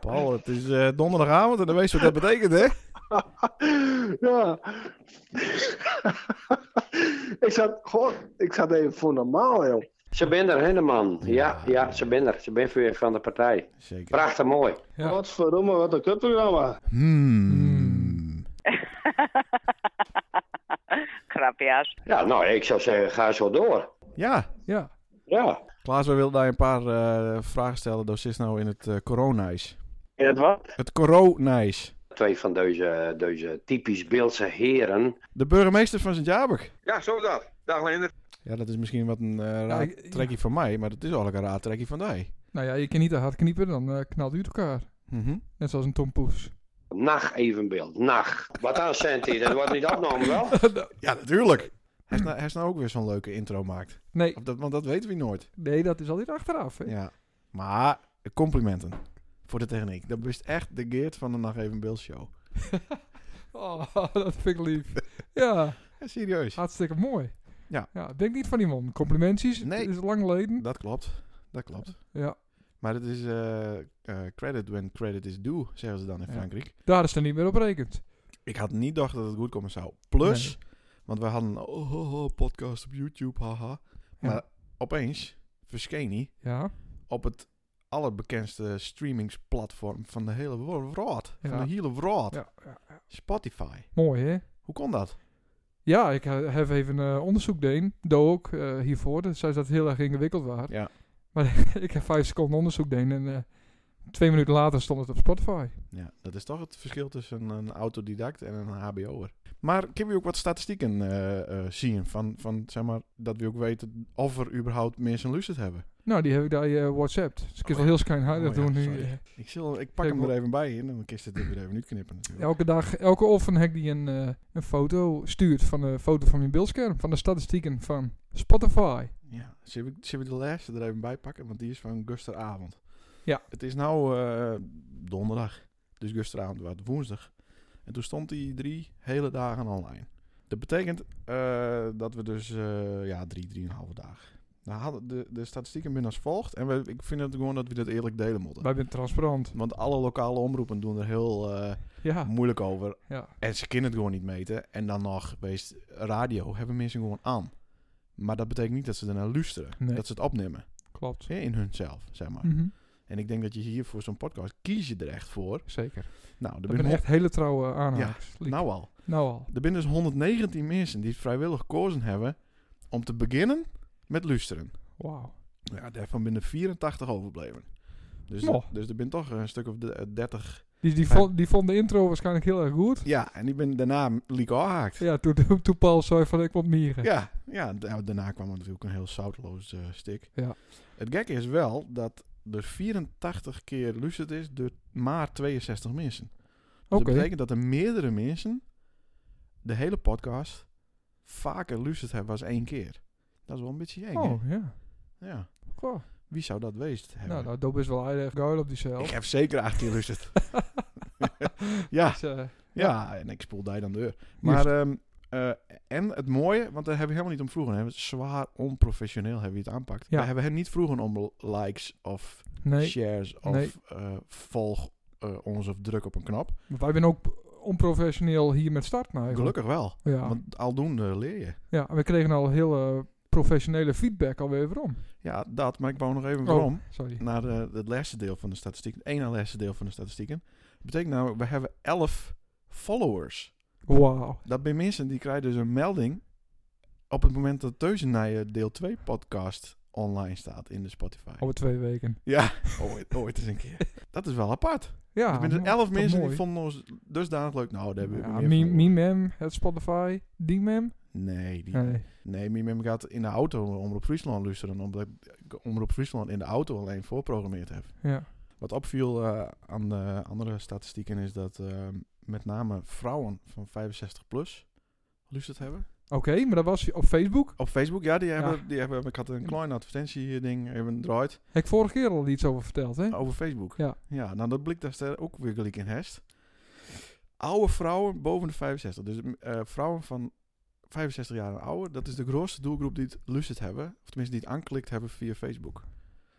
Paul, het is eh, donderdagavond en dan weet je wat dat betekent, hè? ja. ik zat, god, ik zat even voor normaal, joh. Ze ben er, hè, de man. Ja, Ja. ja, ze ben er. Ze ben weer van de partij. Zeker. Prachtig mooi. Ja. Godverdomme, wat een kutprogramma. Hmm. Grapjas. Ja, nou, ik zou zeggen, ga zo door. Ja, Ja. Ja. Klaas, we wilden daar een paar eh, vragen stellen. Dat is nou in het eh coronais. En het wat? Het coronais. Twee van deze, deze typisch Beeldse heren. De burgemeester van Sint-Jabek. Ja, zo is dat. Dag Leender. Ja, dat is misschien wat een eh raar ik- ja. trekkie van mij, maar dat is eigenlijk een raar trekkie van mij. Nou ja, je kan niet te hard kniepen, dan eh, knalt u het elkaar. Mhm. Net zoals een tompoes. Nacht evenbeeld. Nacht. Wat aan cent hier? Dat wordt niet opgenomen, wel? Ja, natuurlijk. Hij is nou, hij is nou ook weer zo'n leuke intro maakt. Nee, Of dat, want dat weten we nooit. nee, dat is altijd achteraf. Hè? Ja. Maar complimenten voor de techniek. Dat is echt de geert van de Nacht Even Beeld Show. Oh, dat vind ik lief. Ja, Ja, serieus. hartstikke mooi. Ja. ja ik denk niet van die man. Complimentjes. Nee. Het is lang geleden. Dat klopt. Dat klopt. Ja. Maar dat is eh, eh, credit when credit is due, zeggen ze dan in Ja. Frankrijk. Daar is er niet meer op rekend. Ik had niet gedacht dat het goed komen zou. Plus, want we hadden een oh, oh, oh, podcast op YouTube, haha. Maar Ja. opeens verscheen hij Ja. op het allerbekendste streamingsplatform van de hele wor- wereld. Van Ja. de hele wereld. Ja, ja, ja. Spotify. Mooi, hè? Hoe kon dat? Ja, ik eh, heb even eh, onderzoek deen, doe ook eh, hiervoor. Dus zei ze dat het heel erg ingewikkeld was. Ja. Maar ik heb vijf seconden onderzoek deen en eh, twee minuten later stond het op Spotify. Ja, dat is toch het verschil tussen een autodidact en een HBO'er. Maar kunnen we ook wat statistieken eh, eh, zien? Van, van, zeg maar, dat we ook weten of er überhaupt mensen luisterd hebben. Nou, die heb ik daar eh WhatsApp. Dus ik kan Oh, wel heel schijnheilig Oh, ja, doen nu. sorry. eh. Ik, zal, ik pak Kijk, hem er wel- even bij in en dan kist het er weer even uitknippen natuurlijk. Elke dag, elke offen heb ik die een, eh, een foto stuurt van een foto van mijn beeldscherm. Van de statistieken van Spotify. Ja, zullen we, zullen we de laatste er even bij pakken? Want die is van gisteravond. Ja. Het is nou eh, donderdag. Dus gisteravond was het woensdag. En toen stond die drie hele dagen online. Dat betekent eh, dat we dus eh, ja, drie, drieënhalve dagen. Nou, hadden de, de statistieken zijn als volgt. En we, ik vind het gewoon dat we dat eerlijk delen moeten. Wij zijn transparant. Want alle lokale omroepen doen er heel eh, Ja, moeilijk over. Ah. ja. En ze kunnen het gewoon niet meten. En dan nog, wees radio, hebben mensen gewoon aan. Maar dat betekent niet dat ze ernaar luisteren. Nee. Dat ze het opnemen. klopt. hè, In hunzelf, zeg maar. Mhm, En ik denk dat je hier voor zo'n podcast, kies je er echt voor. Zeker. Nou, er Dat ben binnen echt hele trouwe aanhangers. hon- nou al. nou al. Er binnen dus 119 mensen die vrijwillig gekozen hebben om te beginnen met luisteren. Wauw. Ja, daarvan binnen 84 overbleven. Dus, Mooi. dus er bent toch een stuk of de, eh, 30. Die, die, vond, die vond de intro waarschijnlijk heel erg goed. Ja, en die ben daarna liek afgehaakt. Ja, toen, toen, toen Paul zei van ik moet mieren. Ja, ja da- daarna kwam er natuurlijk een heel zoutloos eh, stik. Ja. Het gekke is wel dat er 84 keer lucid is door maar 62 mensen. Dus Oké. dat betekent dat er meerdere mensen de hele podcast vaker lucid hebben als één keer. Dat is wel een beetje eng. hè? Oh, ja. Ja. Goh. Wie zou dat weest hebben? Nou, nou, Dob is wel aardig geil op die cel. ik heb zeker acht keer lucid. ja, Dus, eh, ja, en ik spoel daar dan deur. Maar, ehm, eh, en het mooie, want daar hebben we helemaal niet om vroegen. Hè? Want Zwaar onprofessioneel hebben we het aanpakt. Ja. We hebben hem niet vroegen om likes of nee, shares of Nee. eh, volg eh, ons of druk op een knop. wij zijn ook onprofessioneel hier met start. Nou, eigenlijk. Gelukkig wel, Ja. want aldoende leer je. ja, en we kregen al heel eh, professionele feedback alweer waarom. Ja, dat, maar ik wou nog even Oh. waarom. Sorry. Naar eh, het laatste deel van de statistieken. Het ene laatste deel van de statistieken. Dat betekent nou, we hebben 11 followers. Wauw. Dat bij mensen die krijgen dus een melding op het moment dat Teuzen naar je deel 2 podcast online staat in de Spotify. Over twee weken. Ja, ooit, ooit eens een keer. Dat is wel apart. Ja, er zijn dus mo- elf wat mensen Ah, mooi. die vonden ons dusdanig leuk. Nou, daar hebben we Ja, meer Mi- voor. Mi Mem, het Spotify, die mem. Nee, die, nee. Nee. Mimem gaat in de auto Omroep Friesland luisteren. Omdat ik Omroep Friesland in de auto alleen voorprogrammeerd heb. Ja. Wat opviel eh, aan de andere statistieken is dat eh, met name vrouwen van 65 plus luisterd hebben. Oké, maar dat was op Facebook. Op Facebook, ja, die hebben, Die hebben ik had een klein advertentie-ding even draait Heb ik vorige keer al iets over verteld, hè? over Facebook. Ja. Ja, nou dat blikt daar ster- ook weer gelijk in hest. Oude vrouwen boven de 65. Dus eh, vrouwen van 65 jaar en ouder, dat is de grootste doelgroep die het lucid hebben. Of tenminste die het aanklikt hebben via Facebook.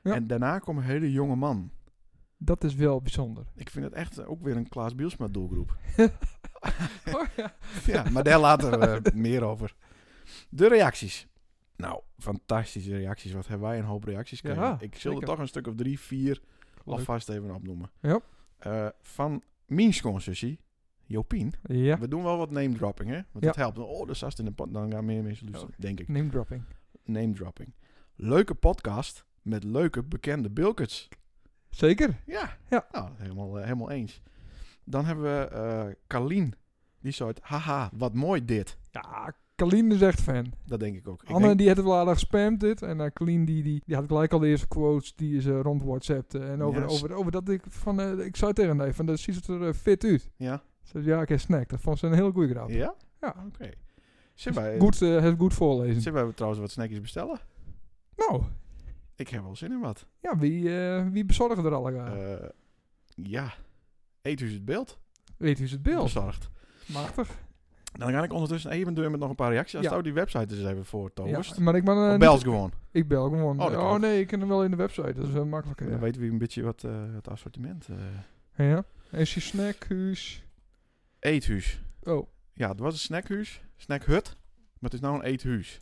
Ja. En daarna komen hele jonge man. Dat is wel bijzonder. Ik vind het echt eh, ook weer een Klaas Bielsma doelgroep. Oh ja. ja, maar daar later eh, meer over. De reacties. Nou, fantastische reacties. Wat hebben wij een hoop reacties gekregen. Ja, ik zal er zeker. toch een stuk of drie, vier Leuk. alvast even opnoemen. Ja. Eh, van Mienskoon zusje, Jopien. Ja, We doen wel wat name dropping, hè? Want Ja. dat helpt. Oh, dat zat in de pot. Dan gaan meer mensen luisteren, denk ik. name dropping. Name dropping. Leuke podcast met leuke bekende Bilkets. Zeker. Ja. Ja. Nou, helemaal, eh, helemaal eens. Dan hebben we eh Kalien. Die soort, haha, wat mooi dit. Ja, Kalien is echt fan. Dat denk ik ook. Ik Anne denk- die had het wel aardig gespamd dit. En eh Kalien die, die, die had gelijk al de eerste quotes die ze rond WhatsAppte. En over, Yes. over, over dat ik van, eh, ik zou tegen haar van dat ziet het er eh, fit uit. ja. Ze zei, ja, ik heb snack. Dat vond ze een heel goede grap. Ja? Oké. Ja. Zullen wij, Goed, eh, heeft goed voorlezen. zullen wij trouwens wat snackjes bestellen? Nou, Ik heb wel zin in wat. ja, wie, eh, wie bezorgen er allemaal? Eh, ja. Eet u het beeld? Weet u eens het beeld? Bezorgd. Nou, Machtig. Dan ga ik ondertussen even door met nog een paar reacties. Als Ja. nou die website dus even voor, Ja, Thomas. maar ik ben... eh, Of niet- Oh, bel eens gewoon. Ik bel gewoon. Oh, Oh, dat kan ook. nee, ik ken hem wel in de website. Dat is wel makkelijker. Dan Ja. weten we een beetje wat eh, het assortiment eh ja. En je snackhuis. Eethuis. Oh, Ja, het was een snackhuis. Snackhut. Maar het is nou een eethuis.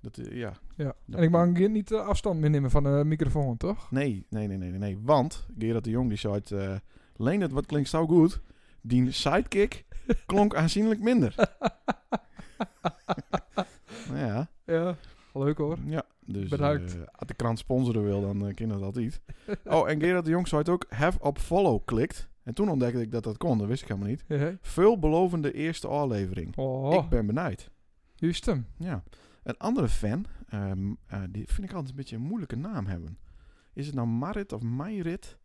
Dat, eh, ja. ja. Dat- en ik mag hier niet eh, afstand meer nemen van de microfoon, toch? Nee, nee, nee, nee, nee. nee. Want Gerard de Jong die zei het... eh Leen, het wat klinkt zo goed. Die sidekick klonk aanzienlijk minder. nou ja. Ja. Leuk hoor. Ja, dus Bedankt. eh, als de krant sponsoren wil, dan eh, kan dat altijd. Oh, en Gerard de Jong zei het ook, have op follow klikt. En toen ontdekte ik dat dat kon, dat wist ik helemaal niet. Ja. Veelbelovende eerste aflevering. Oh, Ik ben benijd. juist hem. Ja. Een andere fan, ehm, eh, die vind ik altijd een beetje een moeilijke naam hebben. Is het nou Marit of Meirit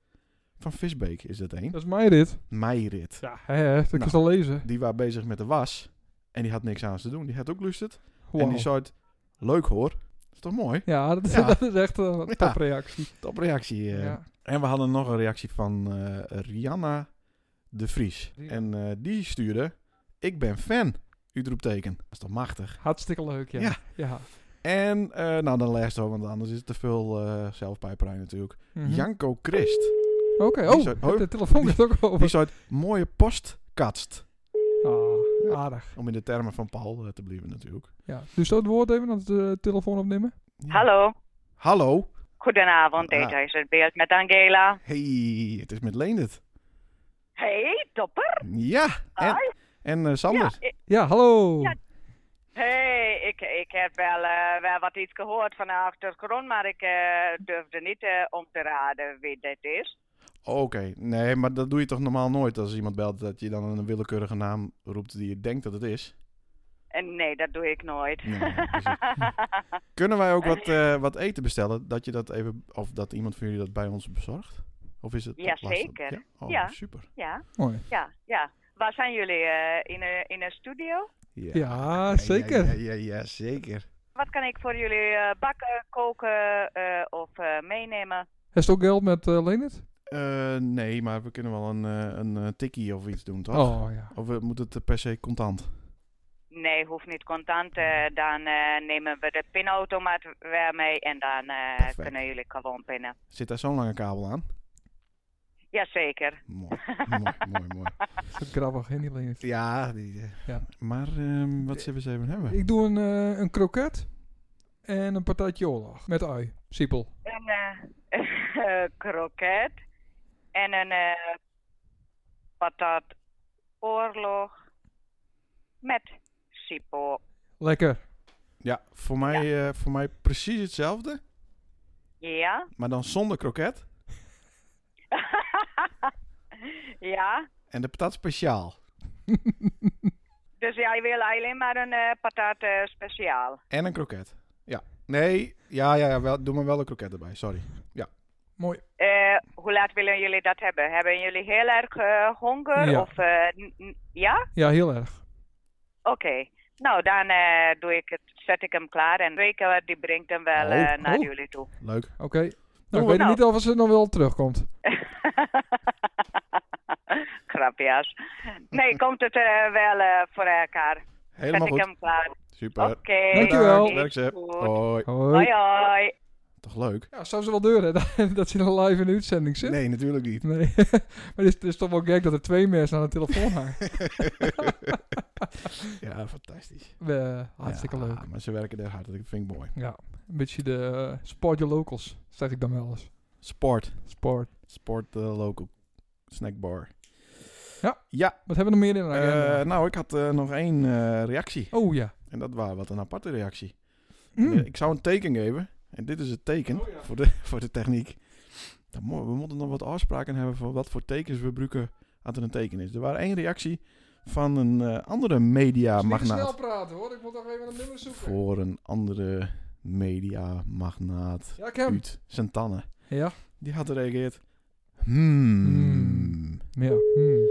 van Visbeek? Is dat één? Dat is mijn dit. Meirit. Ja, hè, dat kan Nou. je al lezen. Die was bezig met de was en die had niks aan te doen. Die had ook lusterd. En Wauw. die zei het, leuk hoor. Is toch mooi? Ja, dat, Ja. dat is echt een Ja. topreactie. Top reactie. eh. Ja. En we hadden nog een reactie van eh, Rihanna de Vries. Rihanna. En eh, die stuurde: Ik ben fan. Uitroepteken. Dat is toch machtig? Hartstikke leuk, ja. Ja. Ja. En eh, nou, dan lijst hoor, want anders is het te veel eh zelfpijperij natuurlijk. Mhm. Janko Christ. Oké, die oh, zou- de- oh, de telefoon die- gaat ook Die over. zou het mooie postkatst. Ah, aardig. Om in de termen van Paul eh, te blijven natuurlijk. Ja. Dus dat woord even, dat de telefoon opnemen. Ja. Hallo, Hallo. goedenavond. Ah. Dit is het beeld met Angela. Hey, het is met Leendert. Hey, topper. Ja. En, Hoi. en eh, Sander. Ja, ik- Ja, hallo. Ja. hey, ik, ik heb wel, eh, wel wat iets gehoord van de achtergrond, maar ik eh, durfde niet eh, om te raden wie dit is. Oké, nee, maar dat doe je toch normaal nooit als iemand belt dat je dan een willekeurige naam roept die je denkt dat het is. En nee, dat doe ik nooit. Nee, precies. Kunnen wij ook wat, eh, wat eten bestellen? Dat je dat even, of dat iemand van jullie dat bij ons bezorgt? Of is het Ja, lastig? zeker. Ja? Oh, Ja. super. ja, Mooi. ja, ja. Waar zijn jullie? eh, in, een, in een studio? Ja, zeker. Ja, ja, ja, zeker. Wat kan ik voor jullie eh, bakken, koken eh, of eh, meenemen? Heeft het ook geld met eh Leonard? Eh, nee, maar we kunnen wel een, eh, een eh, tikkie of iets doen, toch? Oh ja. Of eh, moet het eh, per se contant? Nee, hoeft niet contant. eh, dan eh, nemen we de pinautomaat weer mee en dan eh, Perfect. kunnen jullie gewoon pinnen. Zit daar zo'n lange kabel aan? Jazeker. Mooi, mooi, mooi, mooi. Dat is grappig, hè, niet Leonard. Ja, die, eh, Ja. maar ehm, wat zullen we eens even hebben? Ik doe een, eh, een kroket en een patatje oorlog met ui. Simpel. Een eh, kroket en een eh patatoorlog met sipo. Lekker. Ja, voor mij, eh, voor mij precies hetzelfde, Ja? maar dan zonder kroket ja? en de patat speciaal. Dus jij wil alleen maar een eh patat eh, speciaal. En een kroket. Ja. Nee, ja, ja, ja wel, doe maar wel een kroket erbij, sorry. Mooi. Eh, hoe laat willen jullie dat hebben? Hebben jullie heel erg eh, honger? Ja. Of, eh, n- n- ja? Ja, heel erg. Oké. Nou, dan eh, doe ik het, zet ik hem klaar en Rika die brengt hem wel Oh, eh, naar oh. jullie toe. Leuk. Oké. Doen Nou, we. ik weet Nou. niet of ze nog wel terugkomt. Grapjas. Nee, komt het eh, wel eh, voor elkaar. Helemaal zet ik goed. hem klaar. Super. Oké. Dankjewel. is Werk ze. goed. Hoi. Hoi. Hoi hoi. Toch toch leuk? Ja, zou ze wel deuren dat, dat ze dan live in de uitzending zit? Nee, natuurlijk niet. Nee. maar het is, het is toch wel gek dat er twee mensen aan de telefoon hangen. ja, fantastisch. Eh, hartstikke Ja, leuk. Maar ze werken daar hard. Dat vind ik mooi. Ja, een beetje de eh, sport your locals, zeg ik dan wel eens. Sport. Sport. Sport eh, local snackbar. Ja. Ja. Wat hebben we nog meer in de agenda? eh, nou, ik had eh, nog één eh, reactie. oh ja. En dat was wat een aparte reactie. eh, Mm. Oh, Ik zou een teken geven. En dit is het teken voor, de, voor de techniek. Dan mo- we moeten nog wat afspraken hebben van wat voor tekens we gebruiken als er een teken is. Er was één reactie van een eh, andere media Niet te snel magnaat. praten hoor, ik moet nog even een nummer zoeken. Voor een andere media magnaat Ja, ik heb hem. uit Santana. Ja. Ehm. Die had gereageerd. Hmm. Hmm. Ja. Hmm.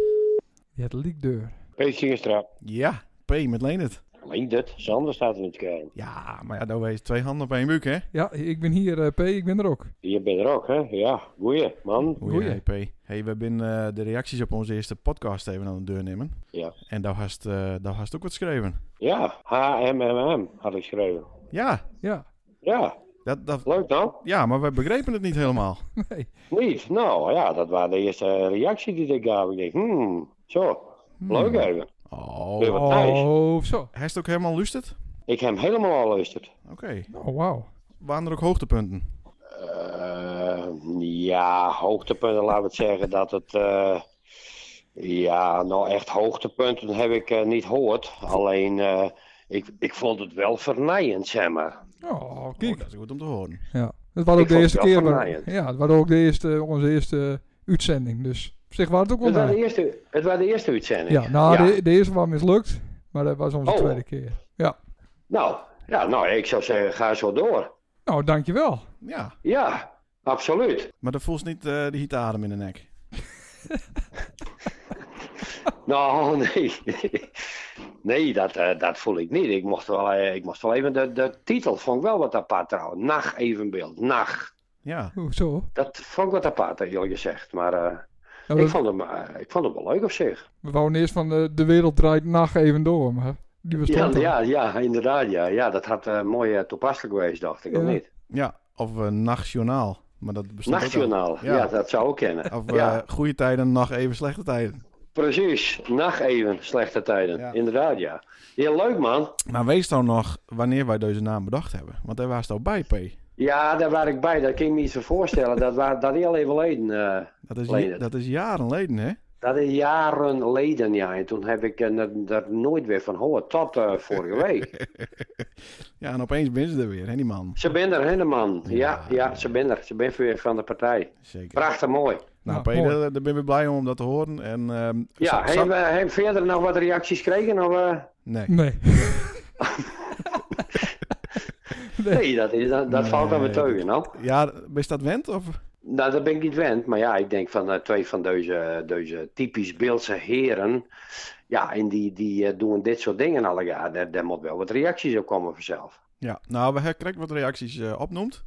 Je had liekdeur. Peet Singestra. Ja, P met Leendert. Alleen dat. Sander staat er in het kern. Ja, maar ja, daar wees twee handen op één buik, hè? Ja, ik ben hier, eh, P, ik ben er ook. Je bent er ook, hè? Ja, goeie, man. Hoe Goeie. jij, P. Hey, we hebben eh, de reacties op onze eerste podcast even aan de deur nemen. Ja. En daar hast, eh daar hast ook wat geschreven. Ja, HMMM had ik geschreven. Ja, Ja. Ja, dat, dat, leuk dan. ja, maar we begrepen het niet helemaal. Nee. Niet? Nou ja, dat was de eerste reactie die ik gaf. Ik denk, hmm, zo, leuk even. Oh. Weer wat thuis. Oh, zo. Hij is ook helemaal lusterd? Ik heb hem helemaal al geluisterd. Oké. Oh, wauw. Waren er ook hoogtepunten? Eh, ja, hoogtepunten, laten we het zeggen dat het... eh, ja, nou echt hoogtepunten heb ik eh, niet gehoord. Alleen, eh, ik, ik vond het wel vernijend, zeg maar. Oh, Oh, kijk. dat is goed om te horen. Ja. Het was ook Ik de vond eerste het wel keer. vernijend. Waar, ja, het was ook de eerste, onze eerste uitzending. Dus op zich was het ook wel Het was de naar. eerste, het was de eerste uitzending. Ja, nou, De, de eerste was mislukt. Maar dat was onze Oh. tweede keer. Ja. Nou, ja, nou, ik zou zeggen, ga zo door. Nou, dankjewel. Ja, Ja, absoluut. maar dat voelt niet eh die hitadem in de nek. Nou, nee. Nee, dat, eh, dat voel ik niet. Ik mocht wel, eh, ik mocht wel even... De, de titel vond ik wel wat apart trouwens. Nacht evenbeeld. Nacht. Ja. Oh, zo. Dat vond ik wat apart, eerlijk gezegd. Maar eh, Nou, ik, we, vond hem, eh, ik vond hem wel leuk op zich. we wouden eerst van eh, de wereld draait nacht even door. Maar die Ja, bestond al. ja, ja, inderdaad. Ja, ja dat had eh, mooi eh, toepasselijk geweest, dacht ik. Of Ja. niet? Ja, of eh, nachtjournaal. Maar dat bestaat Nachtjournaal. Ja. dat zou ik kennen. Of ja, eh, goede tijden, nacht even slechte tijden. precies. Nacht even. Slechte tijden. Ja. Inderdaad, ja. Heel leuk, man. Maar wees dan nog wanneer wij deze naam bedacht hebben. Want daar was het al bij, P. Ja, daar waar ik bij. Dat kan ik me iets van voorstellen. Dat, waar, dat heel even geleden. eh, Dat is, Leden. dat is jaren geleden, hè? dat is jaren geleden, ja. En toen heb ik eh, er- daar nooit weer van gehoord. Tot eh, vorige week. Ja, en opeens ben ze er weer, hè, die man. Ze ben er, hè, man. Ja, ja, ze ben er. Ze ben weer van de partij. Zeker. Prachtig mooi. Nou, Nou, P, mooi. daar daar ben ik blij om om dat te horen. En, ehm, Ja, zak- hebben zak- we hebben we verder nog wat reacties gekregen? Of, eh? Nee. Nee. Nee, dat, is, dat, dat valt aan mijn Nee. teugen, no? Ja, ben je dat wend? Of? Nou, dat ben ik niet wend. Maar ja, ik denk van eh, twee van deze, deze typisch Beeldse heren. Ja, en die, die eh, doen dit soort dingen alle jaar. Daar, daar moet wel wat reacties op komen vanzelf. Ja, nou, we hebben krijgen wat reacties eh, opnoemd.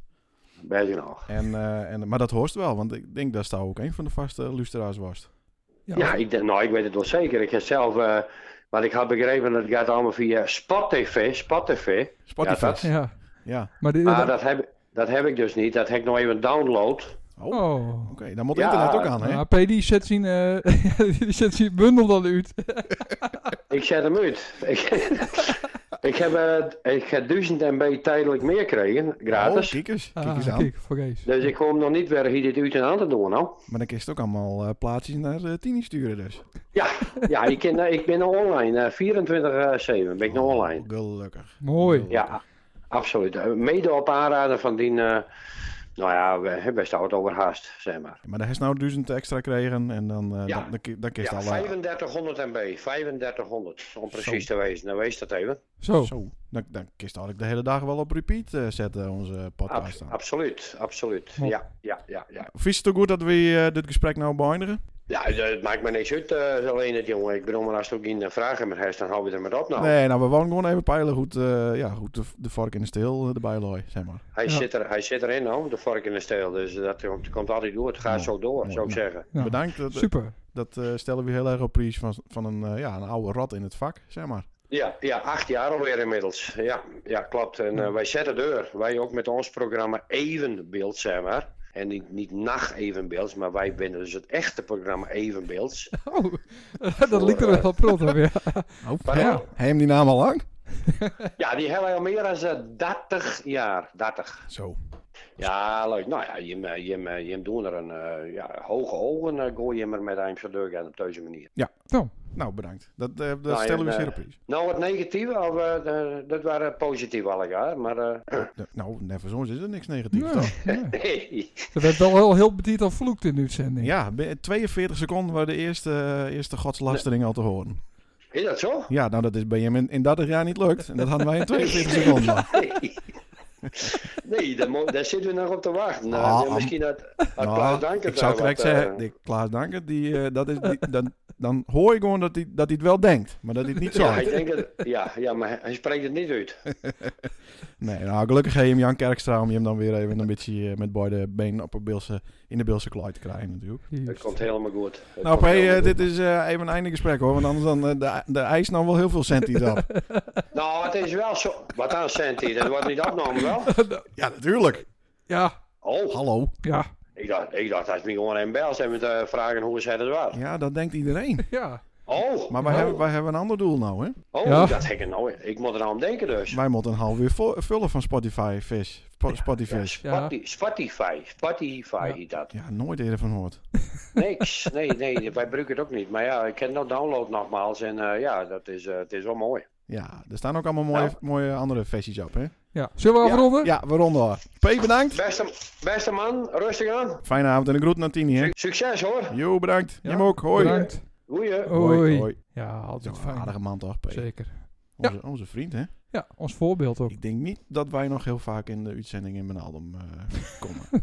Weet je nog. En, eh, en, maar dat hoort wel, want ik denk dat daar ook een van de vaste luisteraars was. Ja. Ja, ik, denk- nou, ik weet het wel zeker. Ik heb zelf, eh wat ik had begrepen, dat gaat allemaal via SpotTV. SpotTV. Spotify. Ja, Ja, dat- Ja. ja. Maar dit Maar dat heb, dat heb ik dus niet. Dat heb ik nog even download. Oh, oké. Oh. Dan moet Ja. internet ook aan, hè? Ja, PD zet zijn, eh, die zet zijn bundel dan uit. Ik zet hem uit. Ik, ik heb, eh, ik heb 1000 MB tijdelijk meer gekregen, Oh, gratis. kijk eens. Kijk Ah, eens aan. Kijk, voor Kees. Dus ik kom nog niet weer hier dit uit en aan te doen, nou. Maar dan kun je het ook allemaal eh, plaatjes naar eh, Tini sturen dus. Ja, ja ik, ken, eh, ik ben nog online. eh 24-7 ben ik nog online. Gelukkig. Mooi. Ja, absoluut. Eh, Mede op aanraden van die... eh, nou ja, we hebben het over haast, zeg maar. Maar daar is nou duizend extra kregen en dan, eh Ja. dan, dan, ki- dan kun je Ja, het eh, alle... 3500 MB. 3500, om precies Zo. te wezen. Dan wees dat even. Zo. Zo, dan, dan kun je het eigenlijk de hele dag wel op repeat eh, zetten, onze Ab- podcast. dan. absoluut, absoluut. Mooi. Ja, ja, ja, ja. Vind je het ook goed dat we eh, dit gesprek nou beëindigen? Ja, eh, het maakt me niks uit, eh, alleen het jongen. Ik bedoel, maar als er ook geen vragen meer is, dan hou je er maar op nou. Nee, nou, we wonen gewoon even peilen hoe, het, eh, ja, hoe de, de vark in de steel eh, erbij looi, zeg maar. Hij, Ja. zit er, hij zit erin nou, de vork in de steel. Dus dat komt, komt altijd door. Het gaat Mooi. zo door, Mooi. zou ik zeggen. Ja. Bedankt, dat, Super. eh, dat eh, stellen we heel erg op prijs van, van een, eh, ja, een oude rat in het vak, zeg maar. Ja, ja, acht jaar alweer inmiddels. Ja, ja klopt. En eh, wij zetten deur. Wij ook met ons programma Evenbeeld, zeg maar. En niet, niet nacht Evenbeeld, maar wij binnen dus het echte programma Evenbeeld. Oh, dat liep er wel prot op, ja. Oh, Pardon? Ja. Hij hem die naam al lang? Ja, die hebben wij al meer dan 30 jaar. 30. Zo. Ja, leuk. Nou ja, je, je, je, je doen er een eh, ja, hoge ogen, eh, gooi je maar met een deur aan op deze manier. Nou, bedankt. Dat, eh, dat Nou, stellen we en, zeer eh, op prijs. Nou, het negatieve, of, eh, de- dat waren positieve alle jaar, maar eh, Eh, Nou, never soms is er niks negatiefs. Nee, toch? nee. nee. Dat werd wel heel, heel betiet al vloekt in de uitzending. Ja, binnen 42 seconden waar de eerste, eerste godslastering al te horen. Is dat zo? Ja, nou dat is bij hem in, in 30 jaar niet lukt. En dat hadden wij in 42 seconden. Nee. Nee, daar, mo- daar zitten we nog op te wachten. Nou, Ah, ja, misschien had, had Nou, Klaas Dankert ik zou daar gelijk wat, eh, zeggen, die Klaas Dankert, die, eh, dat is, die, dan, dan hoor je gewoon dat hij dat hij het wel denkt. Maar dat hij het niet zo ja, ik heeft. denk dat, ja, ja, maar hij- hij spreekt het niet uit. Nee, nou gelukkig heb je hem Jan Kerkstra om je hem dan weer even een beetje eh, met beide benen op een Bilse, in de Bilse klooi te krijgen natuurlijk. Het komt helemaal goed. Het Nou komt P, helemaal eh, goed. dit is eh, even een einde gesprek hoor, want anders dan eh, de, de ijs nou wel heel veel centi's af. Nou, het is wel zo. Wat aan Santi, dat wordt niet opgenomen wel. Ja, natuurlijk. Ja, Oh, Hallo. ja, ik dacht, ik dacht dat we gewoon een bel zijn met eh, vragen hoe ze het waar. Ja, dat denkt iedereen. ja. Oh, Maar wij, oh, hebben, wij hebben een ander doel nou, hè? oh Ja. dat heb ik nou. Ik moet er nou aan denken dus. Wij moeten een half uur vo- vullen van Spotify Fish. Spo- Spotify Ja, Fish. Spotify, Spotify, Spotify heet dat. Ja, nooit eerder van hoort. Niks. Nee, nee, wij gebruiken het ook niet. Maar ja, ik ken nou download nogmaals. En eh, ja, dat is, eh, het is wel mooi. Ja, er staan ook allemaal mooie, Nou. mooie andere versies op, hè? ja. Zullen we Ja. afronden? Ja, waaronder. P, bedankt. Beste, beste man, rustig aan. Fijne avond en een groet naar Tini, hè? Suc- Succes hoor. Jo, bedankt. Ja. Jim ook, hoi. Bedankt. Goeie. Hoi. hoi. Ja, Zo'n altijd fijn. aardige man toch, P? Zeker. Onze, onze vriend, hè? Ja, ons voorbeeld ook. Ik denk niet dat wij nog heel vaak in de uitzending in mijn album eh, komen.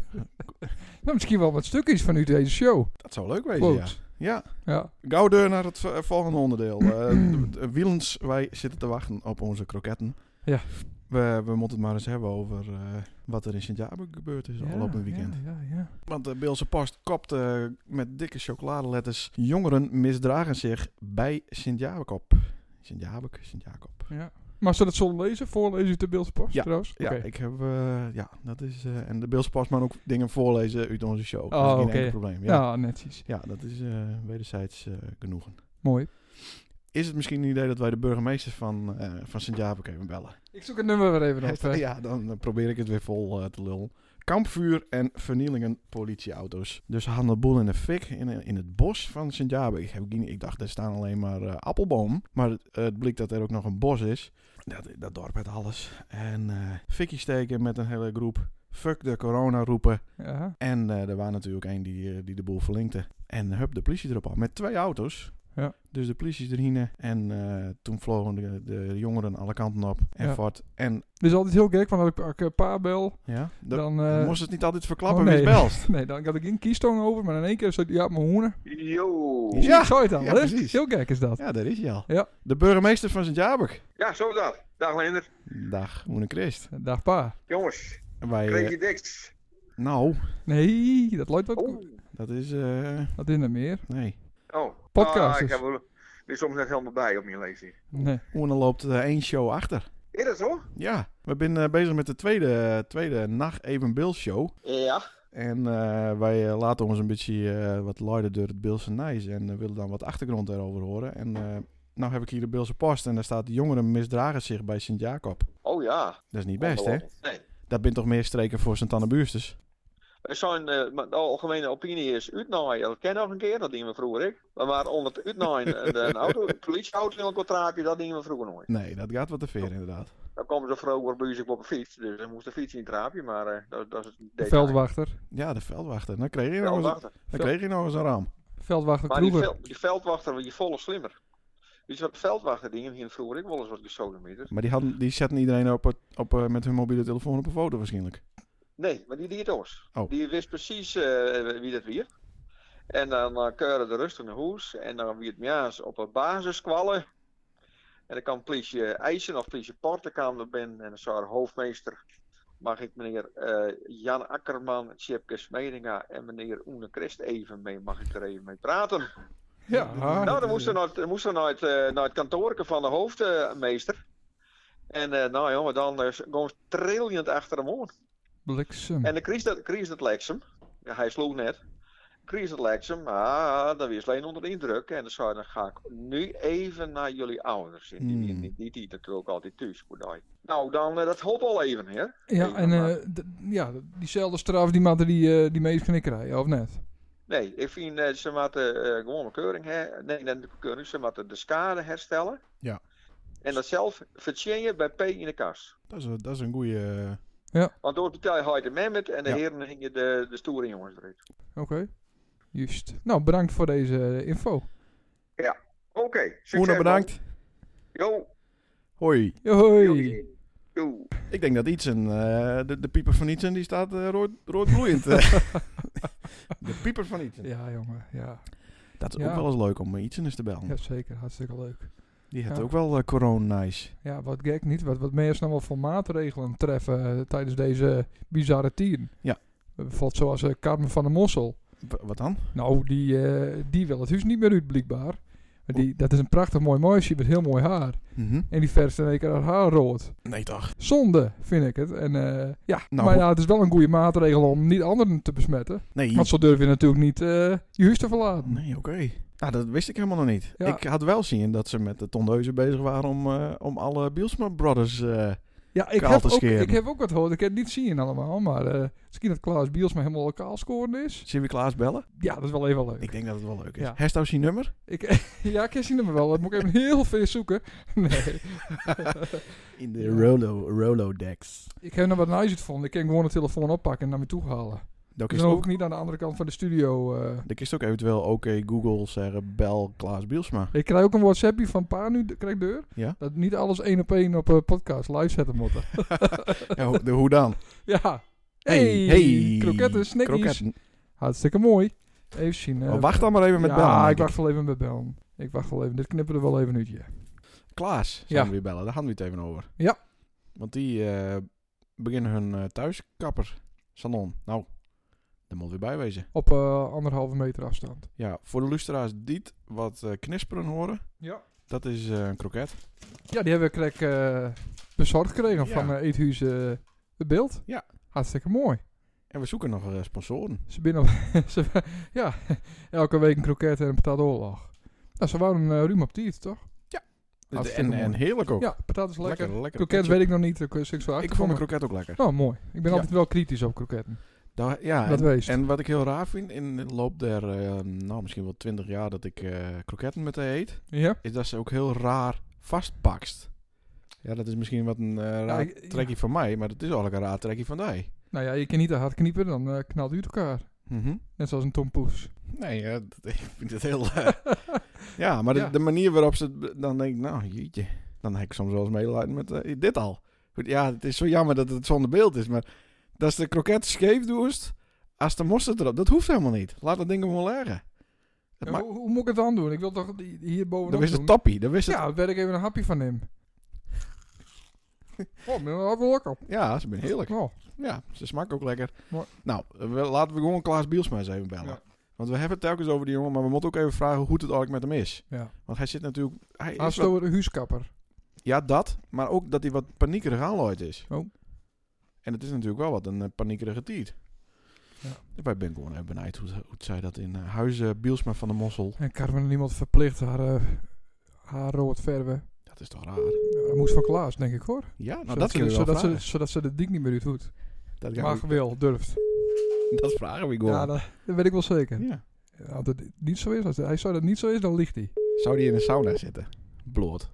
Nou, misschien wel wat stukjes van u deze show. dat zou leuk wezen, ja. Quotes. Ja, Ja. gauw deur naar het eh, volgende onderdeel. Eh, d- d- wielens, wij zitten te wachten op onze kroketten. Ja. We, we moeten het maar eens hebben over eh, wat er in Sint-Jabo gebeurd is afgelopen weekend. Ja, ja, ja. Want de Beelse Post kopte met dikke chocoladeletters... Jongeren misdragen zich bij Sint-Jacob. Sint-Jabek, Sint-Jacob. Ja. Maar ze dat zullen lezen? Voorlezen te beeld pas Ja, trouwens? Ja, Oké. ik heb... eh, ja, dat is... eh, en de Beelse Post mag ook dingen voorlezen uit onze show. Oh, dat is geen oké. enkel probleem. Ja, ja. Ja, netjes. dat is eh, wederzijds eh, genoegen. Mooi. Is het misschien een idee dat wij de burgemeester van, eh, van Sint-Jabek even bellen? Ik zoek het nummer weer even op. Heeft- hè. ja, dan eh, probeer ik het weer vol eh, te lullen. Kampvuur en vernielingen politieauto's. Dus ze hadden een boel in de fik in, in het bos van sint jabe ik, heb geen- ik dacht, er staan alleen maar eh appelboom. Maar het, eh, het blijkt dat er ook nog een bos is. Dat, dat dorp heeft alles. En eh fikkie steken met een hele groep. Fuck de corona roepen. Ja. En eh, er waren natuurlijk één die, eh, die de boel verlinkte. En hup, de politie erop af. Met twee auto's. Ja. Dus de politie is erin. En eh, toen vlogen de, de jongeren alle kanten op. En Ja. voort. En Dus altijd heel gek, want als ik- als ik een paar bel, ja, de- dan... dan eh, moest het niet altijd verklappen oh, wie nee. het belst. Nee, dan had ik geen kiestong over, maar in één keer zat ja, mijn hoenen. Yo. Ja, ik zei het al, ja, hè? precies. Heel gek is dat. Ja, daar is hij al. Ja. De burgemeester van Sint-Jabek. Ja, zo dat. Dag Leender. Dag, Moene Christ. Dag pa. Jongens, Wij, eh, kreeg je diks. nou, Nee, dat luidt wat Oh. dat is... eh, Dat is er meer. nee. oh. Podcasters. Ah, ik heb er ben soms net helemaal bij op mijn lezing. Nee. Moene loopt eh, één show achter. Is dat zo? Ja, we zijn eh, bezig met de tweede, tweede Nacht Even Bill show. Ja. En eh, wij eh, laten ons een beetje eh, wat luiden door het Beelse Nijs. En eh, willen dan wat achtergrond daarover horen. En eh, nou heb ik hier de Beelse Post. En daar staat jongeren misdragen zich bij Sint-Jacob. Oh ja. Dat is niet best, hè? Nee. Dat bent toch meer streken voor Sint-Annebuursters? Er Zijn, eh, maar de algemene opinie is uitnaaien. Dat ken nog een keer, dat dingen we vroeger ik. Maar onder het uitnaaien, een, een auto, een politieauto in een contrapje, dat dingen we vroeger nooit. Nee, dat gaat wat te ver inderdaad. Dan komen ze vroeger bij zich op een fiets, dus dan moest de fiets in het trapje, maar eh, dat, dat is het De detail. veldwachter. Ja, de veldwachter. Dan kreeg je nog eens, Veldwachter. dan kreeg je nog eens een raam. Veldwachter Maar die, Kroeger. vel- die veldwachter, die volle slimmer. Weet je wat, veldwachter dingen hier vroeger ik wel eens wat gestolen meters. Maar die, hadden, die zetten iedereen op, het, op, eh, met hun mobiele telefoon op een foto waarschijnlijk. Nee, maar die deed ons. Oh. Die wist precies eh, wie dat weer. En dan uh, keuren de rustig naar huis. En dan wie het mjaas op een basis kwallen. En dan kan politie eh, eisen of politie porten kwam er binnen. En dan zou haar hoofdmeester, mag ik meneer eh, Jan Akkerman, Tjepke Smedinga en meneer Oene Christ even mee, mag ik er even mee praten. Ja. Nou, dan moesten we naar het, moesten we naar het, eh, naar het kantoorke van de hoofdmeester. En eh, nou jongen, dan eh, gewoon trillend achter hem om. Bliksem. En dan kreeg dat, kreeg dat Lexum. Ja, hij sloeg net. Kreeg dat Lexum. Ah, dan was alleen onder de indruk. En dan zei hij, dan ga ik nu even naar jullie ouders. En Die, die, Hmm. die, die, die natuurlijk altijd thuis voor die. Nou, dan, eh, dat hop al even, hè. Ja, Even en maar- eh, d- ja, diezelfde straf die maakte die, eh, die meest knikken rijden, of net? Nee, ik vind eh, ze moeten eh, gewoon een keuring her... Nee, net een keuring. Ze moeten de schade herstellen. Ja. En dat zelf vertjengen bij P in de kas. Dat is, een- dat is een goeie. eh, Want door het betaal je Hyde Mehmet en de Ja. heren hingen de, de stoere jongens eruit. Oké. Juist. Nou, bedankt voor deze eh, info. Oké, succes. Oena, man. bedankt. Jo. Hoi. Ja, Hoi. Joe. Joe. Ik denk dat Ietsen, eh, de, de pieper van Ietsen, die staat eh, rood, rood bloeiend. eh. de pieper van Ietsen. Ja, jongen. Ja, Dat is Ja. ook wel eens leuk om Ietsen eens te bellen. ja zeker. Hartstikke leuk. Die had Ja. ook wel eh, corona-nice. Ja, wat gek niet. Wat, wat mensen nou wel voor maatregelen treffen eh, tijdens deze bizarre tien. Ja. Bijvoorbeeld zoals eh, Carmen van der Mossel. W- wat dan? Nou, die, eh, die wil het huis niet meer uit, blijkbaar. Maar die, dat is een prachtig mooi meisje met heel mooi haar. Mhm. En die verst in één keer haar haar rood. Nee toch? Zonde, vind ik het. En, eh, ja, Nou, maar goed. ja, het is wel een goede maatregel om niet anderen te besmetten. Nee. Want zo durf je natuurlijk niet eh, je huis te verlaten. Nee, oké. Nou, dat wist ik helemaal nog niet. Ja. Ik had wel zien dat ze met de tondeuzen bezig waren om, eh, om alle Bielsma Brothers... eh, Ja, ik Kaal heb, te ook, scheren. ik heb ook wat gehoord. Ik heb het niet zien allemaal. Maar eh, misschien dat Klaas Biels maar helemaal lokaal scoren is. Zullen we Klaas bellen? Ja, dat is wel even leuk. Ik denk dat het wel leuk is. Ja. Ja. Herstel zijn nummer? Ik, ja, ik zie hem wel. Dat moet ik even heel veel zoeken. Nee. In Ja. de Rolo, Rolodex. Ik heb nog wat nice gevonden. Ik kan gewoon de telefoon oppakken en naar me toe halen. Dan kun je Dus dan hoef ook, ik niet aan de andere kant van de studio. eh. dan kun je ook eventueel oké Google zeggen, bel Klaas Bielsma. Ik krijg ook een WhatsAppje van pa nu, de- krijg ik deur. Ja? Dat niet alles één op één op eh, podcast live zetten moeten. ja, hoe, de- hoe dan? ja. Kroketten, snickies. Kroketten. Hartstikke mooi. Even zien. eh, Oh, wacht dan maar even met ja, bellen. denk ik ik. wacht wel even met bellen. Ik wacht wel even. Dit knippen we er wel even uit, ja. Klaas gaan Ja. we weer bellen. Daar gaan we het even over. Ja. Want die eh, beginnen hun eh thuiskappersalon. Nou, daar moet weer bij wezen. Op eh, anderhalve meter afstand. Ja, voor de luisteraars die het wat eh, knisperen horen, Ja. dat is eh, een kroket. Ja, die hebben we krek eh, bezorgd gekregen Ja. van eh Eethuis eh, het beeld. Ja. Hartstikke mooi. En we zoeken nog eh, sponsoren. Ze binnen ze, ja, elke week een kroket en een patatoorlog. Nou, ze waren eh, ruim op tijd, toch? Ah, En, Hartstikke en, mooi. heerlijk ook. Ja, patat is lekker. lekker. lekker. Kroket weet ik nog niet, daar kun je ik zo Ik achter vond me. mijn kroket ook lekker. Oh, mooi. Ik Ja. ben altijd wel kritisch op kroketten. Daar- ja, Dat en, wees. en wat ik heel raar vind, in de loop der, eh, nou misschien wel twintig jaar dat ik eh, kroketten met haar eet, Ja? is dat ze ook heel raar vastpakst. Ja, dat is misschien wat een eh, raar ik- ja. trekje van mij, maar het is eigenlijk een raar trekje van die. Nou ja, je kan niet te hard kniepen, dan eh, knalt u het elkaar. Mhm. Net zoals een tompoes. Nee, eh, dat, ik vind het heel... eh, ja, maar de- Ja. De, manier waarop ze... het be- Dan denk ik, nou, jeetje. Dan heb ik soms wel eens medelijden met eh, dit al. Goed, Ja, het is zo jammer dat het zonder beeld is, maar... Dat is de kroket scheef doest, als de mosterd erop... Dat hoeft helemaal niet. Laat dat ding gewoon leggen. Dat Ja, maakt- hoe, hoe moet ik het dan doen? Ik wil toch die- hier dat bovenop is het doen? toppie. Dat is het... Ja, Ja, dan werd ik even een hapje van hem. oh, ben wel lekker. ze zijn heerlijk. Oh, Ja, ze smaken ook lekker. Mooi. Nou, eh, we- laten we gewoon Klaas Bielsma eens even bellen. Ja. Want we hebben het telkens over die jongen, maar we moeten ook even vragen hoe goed het eigenlijk met hem is. ja. Want hij zit natuurlijk... Hij is Als wel- het over de huiskapper. Ja, dat. Maar ook dat hij wat paniekerig aanlooit is. Oh. En het is natuurlijk wel wat een eh, paniekerige tiet. Ja. Ja. Wij ben gewoon even benijd hoe, hoe zij dat in eh, huizen Bielsma van de Mossel. En Carmen niemand verplicht haar, eh, haar rood verven. Dat is toch raar? Ja, dat moest van Klaas, denk ik hoor. Ja, nou, zodat, dat ze, kunnen we wel zodat, ze, vragen. zodat ze de dik niet meer uit doet. Dat, gaan Mag, wil, durft. we, dat vragen we gewoon. Ja, dat, dat weet ik wel zeker. Ja. Als dat niet zo is, als hij zou dat niet zo is, dan ligt hij. Zou die in een sauna zitten? Bloot.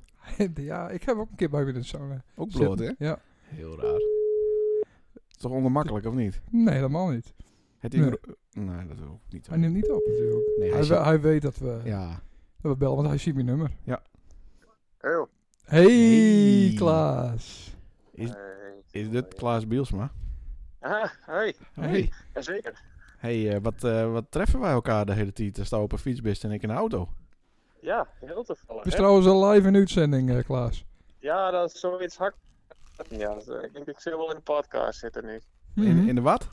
ja, ik heb ook een keer bij me in de sauna. Ook bloot, hè? zitten. Ja. Heel raar. Is toch ongemakkelijk, of niet? Nee, helemaal niet. Het is... Nee. ro- Nee, dat ook niet. Hij neemt niet op natuurlijk. Nee, hij hij, we- zit- hij weet dat we, Ja. dat we bellen, want hij ziet mijn nummer. Heel. Hey, Hey. Klaas. Is- Hey. Is dit Klaas Bielsma? Ah, hey. Hey, Jazeker. hey eh, wat, eh, wat treffen wij elkaar de hele tijd? Als je op een fiets bent en ik in de auto. Ja, heel toevallig. Het is hè? trouwens al live in uitzending, eh, Klaas. Ja, dat is zoiets hak. Ja, dat is- eh, ik denk ik zit wel in de podcast zitten nu. Mhm. In, in de wat?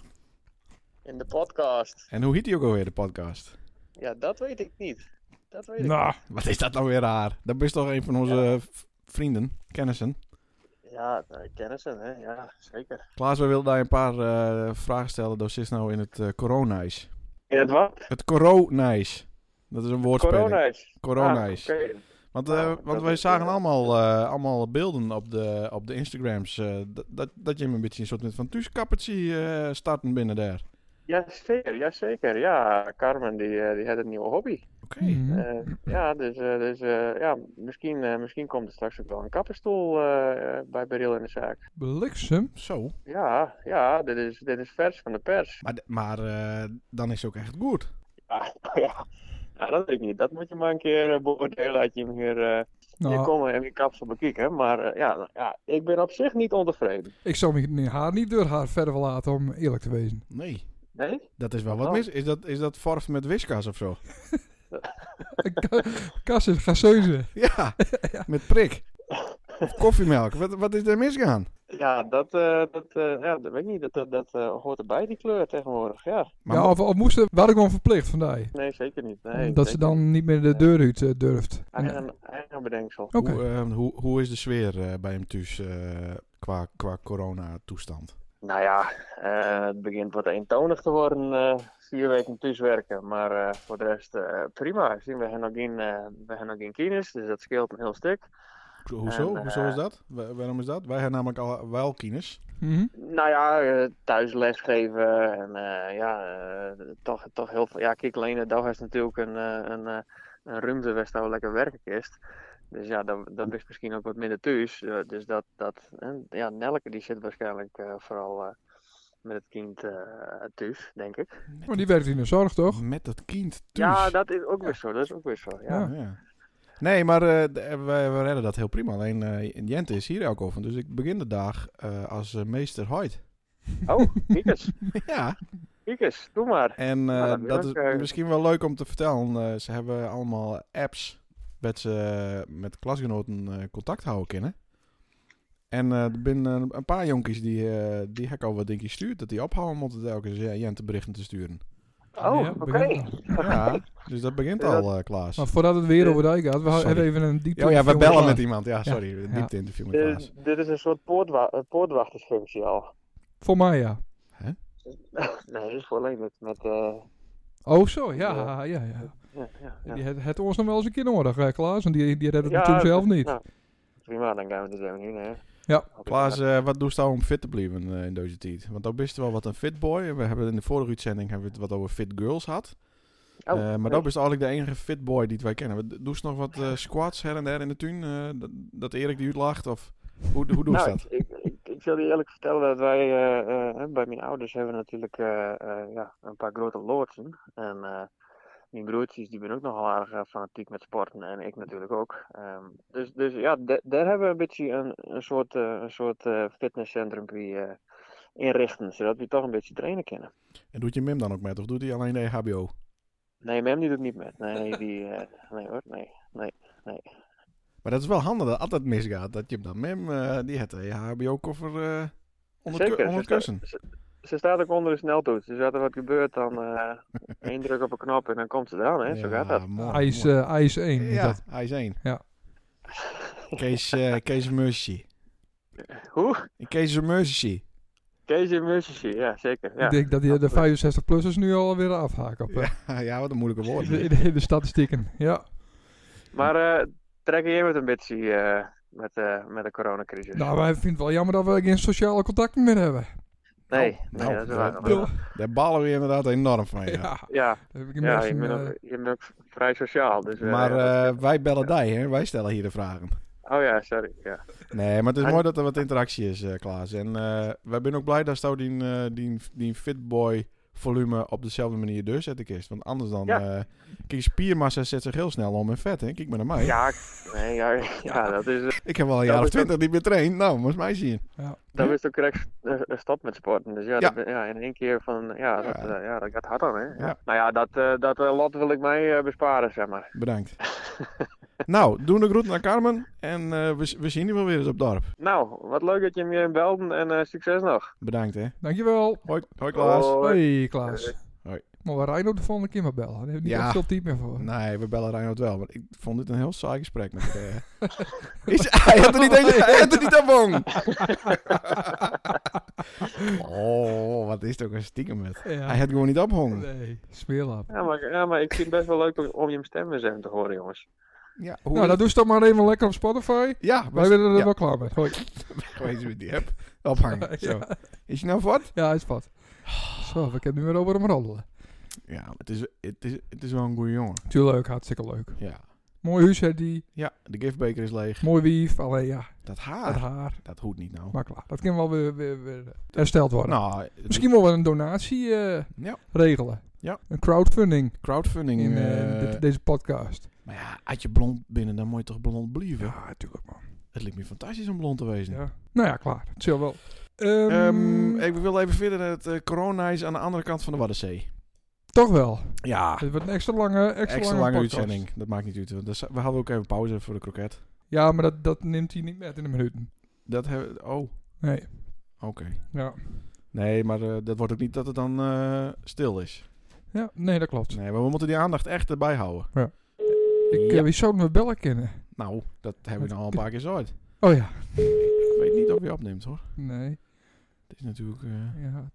In de podcast. En hoe heet die ook alweer, de podcast? Ja, dat weet ik niet. Dat weet ik. Nou, Wat is dat nou weer raar? Dat is toch een van onze eh, v- vrienden, kennissen. Ja, eh, kennissen, hè? Ja, zeker. Klaas, wij wilden daar een paar eh, vragen stellen. Dat zit nou in het eh coronais. In het wat? Het coronais. Dat is een woordspeling. Corona is. Coronais. Ah, oké. Want, eh, Ah, want dat wij is, zagen eh, allemaal, eh, allemaal beelden op de, op de Instagrams. eh, dat- dat, dat je hem een beetje een soort van thuiskappertje eh starten binnen daar. Jazeker, jazeker. Ja, Carmen die, eh, die had een nieuwe hobby. Oké. mhm. Eh, ja, dus, eh, dus eh, ja, misschien, eh, misschien komt er straks ook wel een kapperstoel eh, eh, bij Beril in de zaak. Bliksem. Zo. Ja, ja, dit is, dit is vers van de pers. Maar, d- maar eh, dan is het ook echt goed. Ja, ja. Nou, dat weet ik niet. Dat moet je maar een keer eh, beoordelen dat je hem hier, eh hier Nou, komen en je kapsel bekijken. Maar eh, ja, nou, ja, ik ben op zich niet ontevreden. ik zou mijn haar niet door haar verder willen laten, om eerlijk te wezen. Nee, Nee? dat is wel wat Oh. mis. Is dat, is dat verf met wiskas of zo? eh, Kassen, gasseuze. Ja, met prik. Of koffiemelk. Wat, wat is er misgaan? Ja, dat, eh, dat, eh, ja, dat weet ik niet. Dat, dat, dat eh, hoort erbij, die kleur tegenwoordig. Ja, Maar ja, of, of moesten, waar ik gewoon verplicht vandaag. nee, zeker niet. Nee, dat ze zeker niet. dan niet meer de deur uit eh, durft. Oké. Eigen, eigen bedenksel. hoe, eh, hoe, hoe is de sfeer eh, bij hem thuis eh, qua, qua corona-toestand? Nou ja, eh, het begint wat eentonig te worden, eh, vier weken thuiswerken. Maar eh, voor de rest eh, prima. Zien we hebben nog geen, eh, we hebben nog geen kines, dus dat scheelt een heel stuk. Hoezo, hoezo, En, hoezo eh, is dat? Wa- waarom is dat? Wij hebben namelijk al wel kines. Mhm. Nou ja, eh, thuis lesgeven en eh, ja, eh, toch, toch heel veel. Ja, kijk, alleen dag is natuurlijk een, eh, een, eh, een ruimte waar zo lekker werken kist. Dus ja, dan, dan is misschien ook wat minder thuis. Eh, dus dat, dat eh, ja, Nelke die zit waarschijnlijk eh, vooral eh, met het kind eh, thuis, denk ik. Maar die werkt in de zorg, toch? Met dat kind thuis. Ja, dat is ook weer zo. Dat is ook weer zo. Ja. Ja. Ja. Nee, maar eh, d- eh, wij, we redden dat heel prima. Alleen eh, Jente is hier ook over. Dus ik begin de dag eh, als eh, meester Hoyt. Oh, Kiekes. ja, Kiekes, doe maar. en eh, Nou, dat dat wil is ik, eh, misschien wel leuk om te vertellen. Eh, ze hebben allemaal apps waar ze eh, met klasgenoten eh, contact houden kunnen. En eh, er zijn eh, een paar jonkies die, eh, die hek al wat dingetjes stuurt. Dat die ophouden moeten telkens eh, Jente berichten te sturen. Oh, Ja, oké. begint al. Ja, dus dat begint Ja, al, eh, Klaas. Maar voordat het weer over de dijk gaat, we Sorry. hebben even een diepte. Oh ja, we bellen met die. iemand. Ja, Ja. sorry. Een Ja. diepte interview met Klaas. Dus Dit, dit is een soort poortwa eh, poortwachtersfunctie al. Voor mij, ja. Nee, dat is voor alleen met. met eh, Oh, zo, ja, ja, ja. ja, ja, ja. Die het, het ons nog wel eens een keer nodig, eh, Klaas. En die, die redt het Ja, natuurlijk zelf niet. nou, prima, dan gaan we dit even niet. Hè. Ja. Hoop ik Klaas, maar. eh, wat doe je nou om fit te blijven eh, in deze tijd? Want dan bist je wel wat een fit boy. We hebben in de vorige uitzending hebben we het wat over fit girls gehad. Oh, Eh, maar nee. dat bist eigenlijk de enige fit boy die wij kennen. Wat- Doe je nog wat eh, squats her en der in de tuin? eh, dat, dat Erik die uitlacht? Of hoe, hoe doe je nou, dat? Ik, ik, ik, ik zal je eerlijk vertellen dat wij eh, eh, bij mijn ouders hebben natuurlijk eh, eh, ja, een paar grote loodsen. En eh, mijn broertjes die ben ook nogal aardig eh, fanatiek met sporten en ik natuurlijk ook. Ehm, dus, dus ja, da- daar hebben we een beetje een, een soort, eh, een soort eh, fitnesscentrum die, eh inrichten, zodat we toch een beetje trainen kunnen. En doet je Mim dan ook met? Of doet hij alleen de E EHBO? Nee, Mem die doet niet met. Nee, die, eh, nee hoor, nee. Maar dat is wel handig dat altijd misgaat. Dat je hem dan Mim, eh, die het EHBO-koffer eh onder, het ku- Zeker, onder ze, het kussen. sta- ze, ze staat ook onder de sneltoets. Dus als er wat gebeurt, dan eh één druk op een knop en dan komt ze eraan. Hè? Zo gaat dat. mooi, IJs, mooi. eh, IJs 1. is ja, dat. hij is één. Ja. Kees, eh Kees Mercy. Hoe? Kees Mercy. Kees in Musici, ja zeker. Ja. Ik denk dat die, de Absoluut. 65-plussers nu alweer afhaken op, eh, Ja, ja, wat een moeilijke woord. in, de, in de statistieken. Ja. Maar eh, trek je met een beetje eh, met, eh, met de coronacrisis? Nou, wij vinden het wel jammer dat we geen sociale contacten meer hebben. nee, Oh, nou, nee, nou, dat is waar. dat- Ja, Daar balen we inderdaad enorm van. Ja. ja. Ja, dat heb ik ja je, inmiddels een, bent eh, ook, je bent ook vrij sociaal. Dus, eh, maar ja, dat- eh, wij bellen die, hè? wij stellen hier de vragen. Oh ja, sorry. Ja. Nee, maar het is En- mooi dat er wat interactie is, eh, Klaas. En eh, wij zijn ook blij dat Stouw die, eh, die, die Fitboy volume op dezelfde manier deurzet ik is. Want anders dan... Ja. eh, kijk, spiermassa zet zich heel snel om in vet, hè? Kijk maar naar oh mij. Ja, ik- nee, ja, ja, dat is... eh, Ik heb al een Ja, jaar of dat- twintig niet meer traind. Nou, moest mij zien. Dan is het ook recht eh, een stap met sporten. Dus ja, Ja. dat ben- ja in één keer van, ja, Dat, Ja. eh, ja, dat gaat hard aan, hè. Ja. Ja. Nou ja, dat, eh, dat eh, lot wil ik mij eh, besparen, zeg maar. Bedankt. nou, doe een groet naar Carmen. En eh, we, we zien je wel weer eens op dorp. Nou, wat leuk dat je me belde en eh, succes nog. Bedankt, hè. Dankjewel. Hoi, hoi Klaas. Hoi. Hoi, Klaas. Maar we Rijn ook de volgende keer maar bellen. Daar hebben we niet Ja. Nou, echt veel tijd meer voor. Nee, we bellen Reinhard wel. Maar ik vond dit een heel saai gesprek met eh. Is, hij had er niet eens... Hij had er niet aan bang. oh, wat is het ook een stiekem met. Ja. Hij had gewoon niet ophangen. Nee, smeerlap. Ja maar, ja, maar ik vind het best wel leuk om, om je stem eens even te horen, jongens. Ja, hoe Nou, dat doe je toch maar even lekker op Spotify. ja, Wij was willen er ja. wel klaar mee. Hoi. geweest met die app. Ophangen. Zo. Ja. Is je nou wat? Ja, hij is wat. Zo, we kunnen nu weer over hem roddelen. Ja, maar het is, het, is, het is wel een goede jongen. Tuurlijk, hartstikke leuk. Ja. Mooi huis heeft die, Ja, de giftbeker is leeg. mooi wief. Alleen ja, Dat het haar, haar. dat hoeft niet nou. Maar klaar, dat kan wel weer, weer, weer eh, hersteld worden. Nou, het- Misschien wel een donatie eh, Ja. regelen. Ja. Een crowdfunding crowdfunding. in eh, eh, dit- deze podcast. maar ja, had je blond binnen, dan moet je toch blond blijven? Ja, natuurlijk man. Het lijkt me fantastisch om blond te wezen. Ja. Nou ja, klaar. Het zal wel. Ehm, Ehm, ik wil even verder naar het eh, corona is aan de andere kant van de Waddenzee. toch wel. Ja, Het wordt een extra lange, extra extra, lange lange podcast. uitzending. Dat maakt niet uit. want dat is- we hadden ook even pauze voor de kroket. Ja, maar dat, dat neemt hij niet met in de minuten. Dat hebben we- Oh, Nee. oké. Ja. Nee, maar eh, dat wordt ook niet dat het dan eh, stil is. ja, nee, dat klopt. Nee, maar we moeten die aandacht echt erbij houden. Ik, Ja. eh, wie zou me bellen kennen? Nou, dat hebben we nou al een paar keer zo uit. Oh ja. Ik weet niet of je opneemt hoor. Nee. Het is natuurlijk eh, Ja.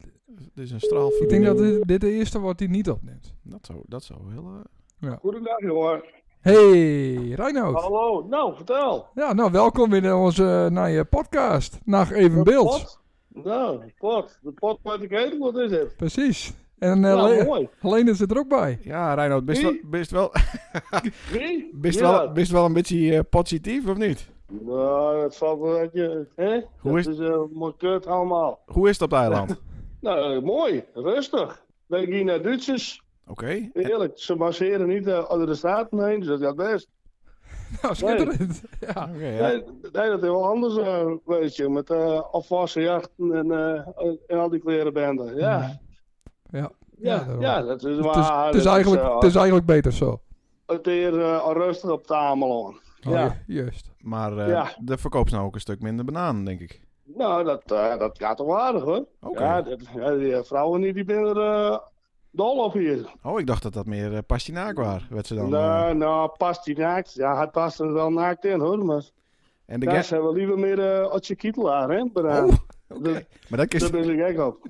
het is een straal. Ik denk dat dit, dit de eerste wordt die niet opneemt. Dat zou, dat zou heel... eh, Goedendag, jongen. Hey, Reinoud. Hallo. Nou, vertel. Ja, nou, welkom weer in onze eh, naar je podcast. Nacht even beeld. Pot? Nou, de pot. De pot met de ketel, wat is het? Precies. En eh, Nou, Le- mooi. Helene zit er ook bij. ja, Reinoud, best wel, Wie? best wel, Drie? best Ja. wel, best wel een beetje eh, positief, of niet? Nou, dat valt wel uit je... Hè? Hoe is- dat is eh, mooi kut allemaal. Hoe is het op het eiland? Nou, eh, mooi. Rustig. Ben ik hier naar Duitsers. Oké. Eerlijk, ze masseren niet eh, onder de staten heen, dus dat gaat best. Nou, schitterend. Ja. Oké, ja. Nee, nee, dat is heel anders, eh, weet je. Met eh afwassen, jachten en, eh, en al die klerenbanden. Ja. Ja. Ja, Ja, ja, daarom. dat is Het is, Dus waar. het is dat eigenlijk, eh, het is eigenlijk beter zo. het is eh, rustig op Tamelon. Oh, Ja. ju- Juist. Maar eh, Ja. de verkoopt nou ook een stuk minder bananen, denk ik. Nou, dat, eh, dat gaat toch aardig hoor. Oké. Ja, dat- ja, die eh, vrouwen niet, die zijn er eh, dol op hier. Oh, ik dacht dat dat meer eh, pastinaak was. Werd ze dan, eh, nou, nou, past die naakt. Ja, het past er wel naakt in hoor. Maar en de daar gek- zijn eh, we liever meer uh, Otje Kietelaar, hè? Dus Oh, banaan. oké. dat- Maar dat is... Daar ben ik gek op.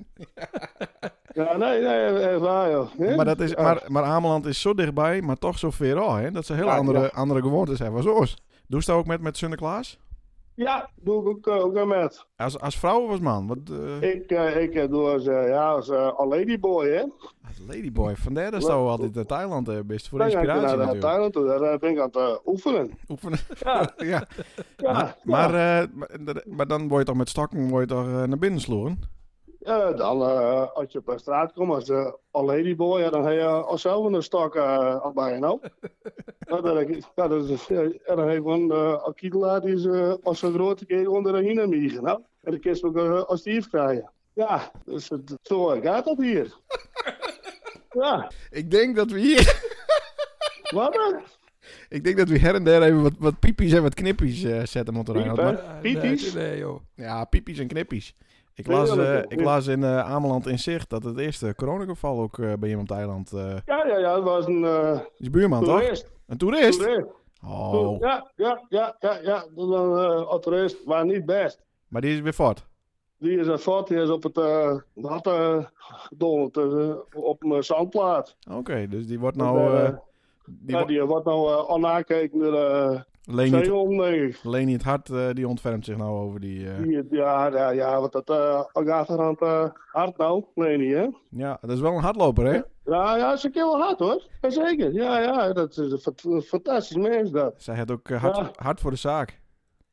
ja, nee, nee, echt waar joh. Hè? Maar, dat is, Ja. maar, maar Ameland is zo dichtbij, maar toch zo ver al, hè? Dat ze heel Ja, andere, ja. andere gewoontes hebben. Zoals. Doe je dat ook met, met Sinterklaas? Ja, doe ik ook, eh, ook aan met. Als, als vrouw of als man? Wat, eh, Ik, eh, ik eh, doe als, eh, ja, als eh, een ladyboy, hè. als ladyboy. Vandaar dat zou altijd naar Thailand eh, best voor Dan ga ik inspiratie naar eh, natuurlijk. Thailand toe, daar eh, ben ik aan het eh, oefenen. Oefenen. Ja, ja. ja. Maar, eh, maar, maar dan word je toch met stokken word je toch, eh, naar binnen sloeren? Ja, dan eh, als je op de straat komt als eh, een ladyboy, ja, dan heb je al zelf een stok eh, al bij je nou. Ja, dan heb ik- ja, dat is- ja, en dan heeft een uh, Akitela, die is eh, als een grote keer onder de hina miegen, nou. En dan kun je ook eh, als dief krijgen. Ja, dus het, zo gaat dat hier. Ja, Ik denk dat we hier... wat dan? Ik denk dat we her en der even wat, wat piepies en wat knippies eh, zetten moeten Piep, Reinhard. hè? Maar- Eh, Piepies? Nee, nee, joh. Ja, piepies en knippies. Ik las, eh, Tuurlijk, ik las in eh, Ameland in zicht dat het eerste coronageval ook eh, bij iemand op het eiland... eh, Ja, ja, ja, dat was een eh is buurman, toch? toerist. Een toerist? Toerist. Oh, Ja, ja, ja, ja, ja. Dat was een eh, toerist, maar niet best. maar die is weer fort. Die is een vat, die is op het eh nat eh, gedonderd, eh, op een zandplaat. Oké, dus die wordt En, nou... eh, eh, die ja, wo- die wordt nou eh, al aangekeken door eh Leni, het, Zeehond, denk ik. Leni het hart, eh, die ontfermt zich nou over die... eh, Die- Ja, ja, ja, want dat eh gaat er aan het eh, hard nou, nee niet, hè? Ja, dat is wel een hardloper, hè? Ja, ja, ze kan wel hard hoor. Jazeker, ja, ja, dat is een fant- fantastisch mens dat. Zij had ook eh, hard, Ja. hard voor de zaak.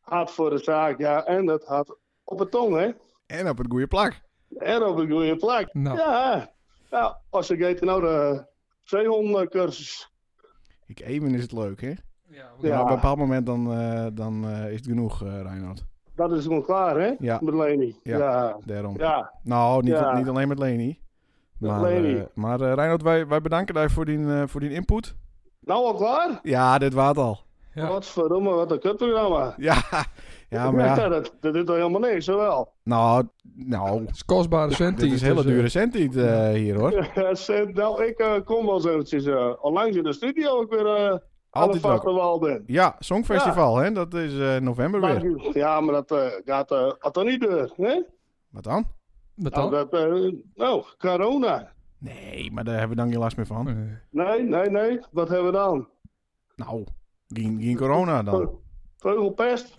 Hard voor de zaak, ja, en dat hard op het tong, hè? En op het goede plak. En op een goede plek. Nou. Ja, ja, als ik heet nou de zeehondencursus. Ik even is het leuk, hè? Ja. Maar op een bepaald moment dan, eh, dan eh, is het genoeg, eh Reinhard. Dat is gewoon klaar, hè? Ja. Met Leni. Ja. ja. Daarom. ja. Nou, niet, Ja. niet alleen met Leni. Met Maar, Leni. eh, maar eh, Reinhard, wij, wij bedanken daar voor die, eh, voor die input. Nou al klaar? Ja, dit waard al. Ja. Wat verdomme, wat een kutprogramma. Ja, ja maar ja. dat, dat doet toch helemaal niks, hè wel? Nou, nou, Het is kostbare centen. dus, dit is hele dure centiet eh, hier hoor. dus, Ja, ze- nou, ik eh, kom wel eens eventjes eh, onlangs in de studio. Ik weer eh, aan de Altijd vaste welkom. wal ben. Ja, Songfestival, hè? Dat is eh, november Maar- weer. ja, maar dat eh, gaat eh gaat toch niet door, hè? Wat dan? Wat Nou, dan? dat, eh, nou, corona. Nee, maar daar hebben we dan geen last meer van. Eh, Nee, nee, nee. Wat hebben we dan? Nou, geen, geen corona dan. Veu- Veugelpest?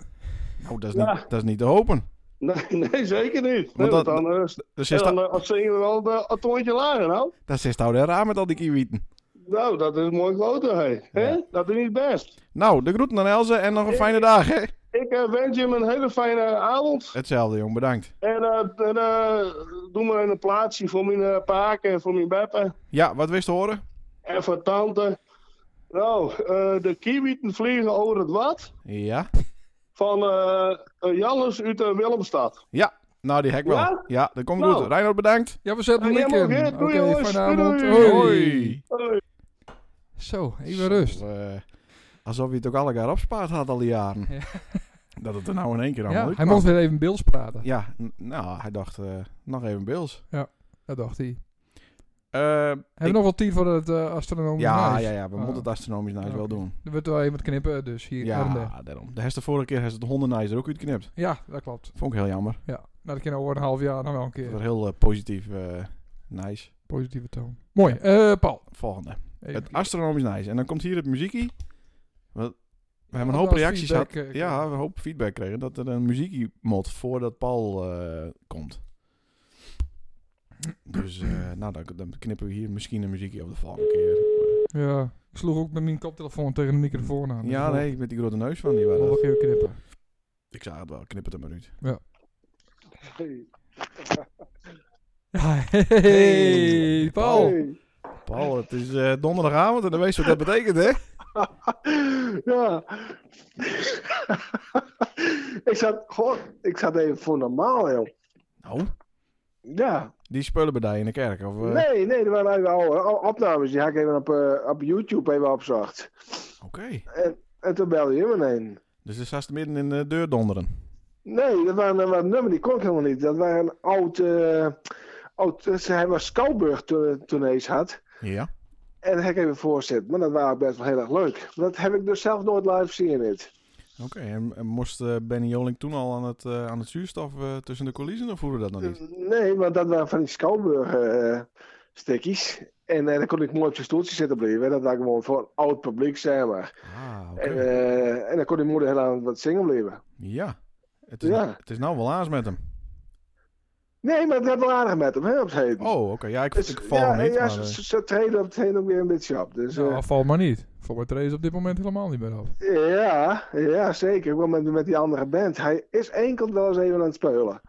Nou, dat is, Ja. niet, dat is niet te hopen. Nee, nee, zeker niet. Nee, Want want dat- dan, eh, Dat zit dan, daar- eh, zingen we wel de- een toontje lager, nou. daar zit oude raar met al die kiwieten. Nou, dat is mooi klote, hé. Hè? Dat is niet best. Nou, de groeten aan Elze en nog een fijne dag, hè? Ik eh, wens je een hele fijne avond. Hetzelfde, jong. Bedankt. En, eh, en eh, doe maar een plaatsje voor mijn eh, paak en voor mijn beppen. Ja, wat wist te horen? En voor tante. Nou, eh, de kiwieten vliegen over het wat. Ja. Van eh eh, Jannes uit eh, Willemstad. Ja, nou, die hek wel. Ja? Ja, dat komt Nou. goed. Reinhard, bedankt. Ja, we zetten hem Ja, link jij mag, in. hè? Oké, Doei, jongens. vanavond. Doei, Hoi. doei. Hoi. Zo, even rust. Zo, eh, alsof je het ook al elkaar opspaard had al die jaren. Ja. Dat het er nou in één keer allemaal Ja, hij uitkwam. mocht weer even Bills praten. Ja, n- nou, hij dacht, eh, nog even Bills. Dat dacht hij. Eh, Hebben we Ik- nog wel tijd voor het eh astronomisch ja, huis? ja, ja, we Ah. moeten het astronomisch nou eens Oké. wel doen. Er wordt wel even wat knippen, dus hier. daar en daar. Ja, daarom. De herste vorige keer heeft het hondennijs er ook uitgeknipt. ja dat klopt. Vond ik heel jammer. Ja, nou, dat kan over een half jaar nog wel een Dat keer. was heel eh, positief eh nice. Positieve toon. Mooi. Eh Paul. Volgende. Even Het kijken. astronomisch nice. En dan komt hier het muziekie. Wat- We hebben wat een hoop was reacties feedback, gehad. eh, Ja, we hebben een hoop feedback gekregen dat er een muziekiemod voordat Paul eh, komt. Dus eh, nou, dan, dan knippen we hier misschien een muziekie op de volgende keer. Ja, ik sloeg ook met mijn koptelefoon tegen de microfoon aan. Ja, nee, met die grote neus van die Ik waren. nog dat. even knippen. Ik zag het wel, knip het er maar uit. Ja, hey, Paul. Hey. Paul, het is eh, donderdagavond en dan weet je wat dat betekent, hè? Ja. ik zat, goh, ik zat even voor normaal, joh. Nou, Ja. die spullenbedij in de kerk. Of, eh, Nee, nee, er waren even oude o- opnames. Die had ik even op, eh, op YouTube even opzocht. Oké. En toen belde je me heen. Dus er staat midden in de deur donderen. Nee, dat waren, dat waren nummer die kon ik helemaal niet. Dat waren een oud, eh, oud eh, ze- hij was Schouwburg toen, toen hij eens had. Ja. En dat heb ik even voorzet. Maar dat waren best wel heel erg leuk. Maar dat heb ik dus zelf nooit live gezien. Dit. Oké, en, en moest eh, Benny Jolink toen al aan het, eh, aan het zuurstof eh, tussen de coulissen of voelde dat nog niet? Nee, want dat waren van die Schouwburg eh stikkies. En eh, dan kon ik mooi op zijn stoeltje zitten blijven. Dat was gewoon voor een oud publiek, zeg maar. Ah, oké. En, eh, en dan kon die moeder heel aan wat zingen blijven. ja. Het is, ja. nou- het is nou wel aas met hem. Nee, maar dat wel aardig met hem, hè, op het heden. Oh, oké. Ja, ik, Dus, ik val ja, hem niet. ja, maar, ze, eh, ze- ze treden op het heen ook weer een beetje op. Dus, Nou, eh, valt maar niet. Volgens mij is op dit moment helemaal niet meer op. ja, ja, zeker. Ook wel met, met die andere band. Hij is enkel wel eens even aan het spelen.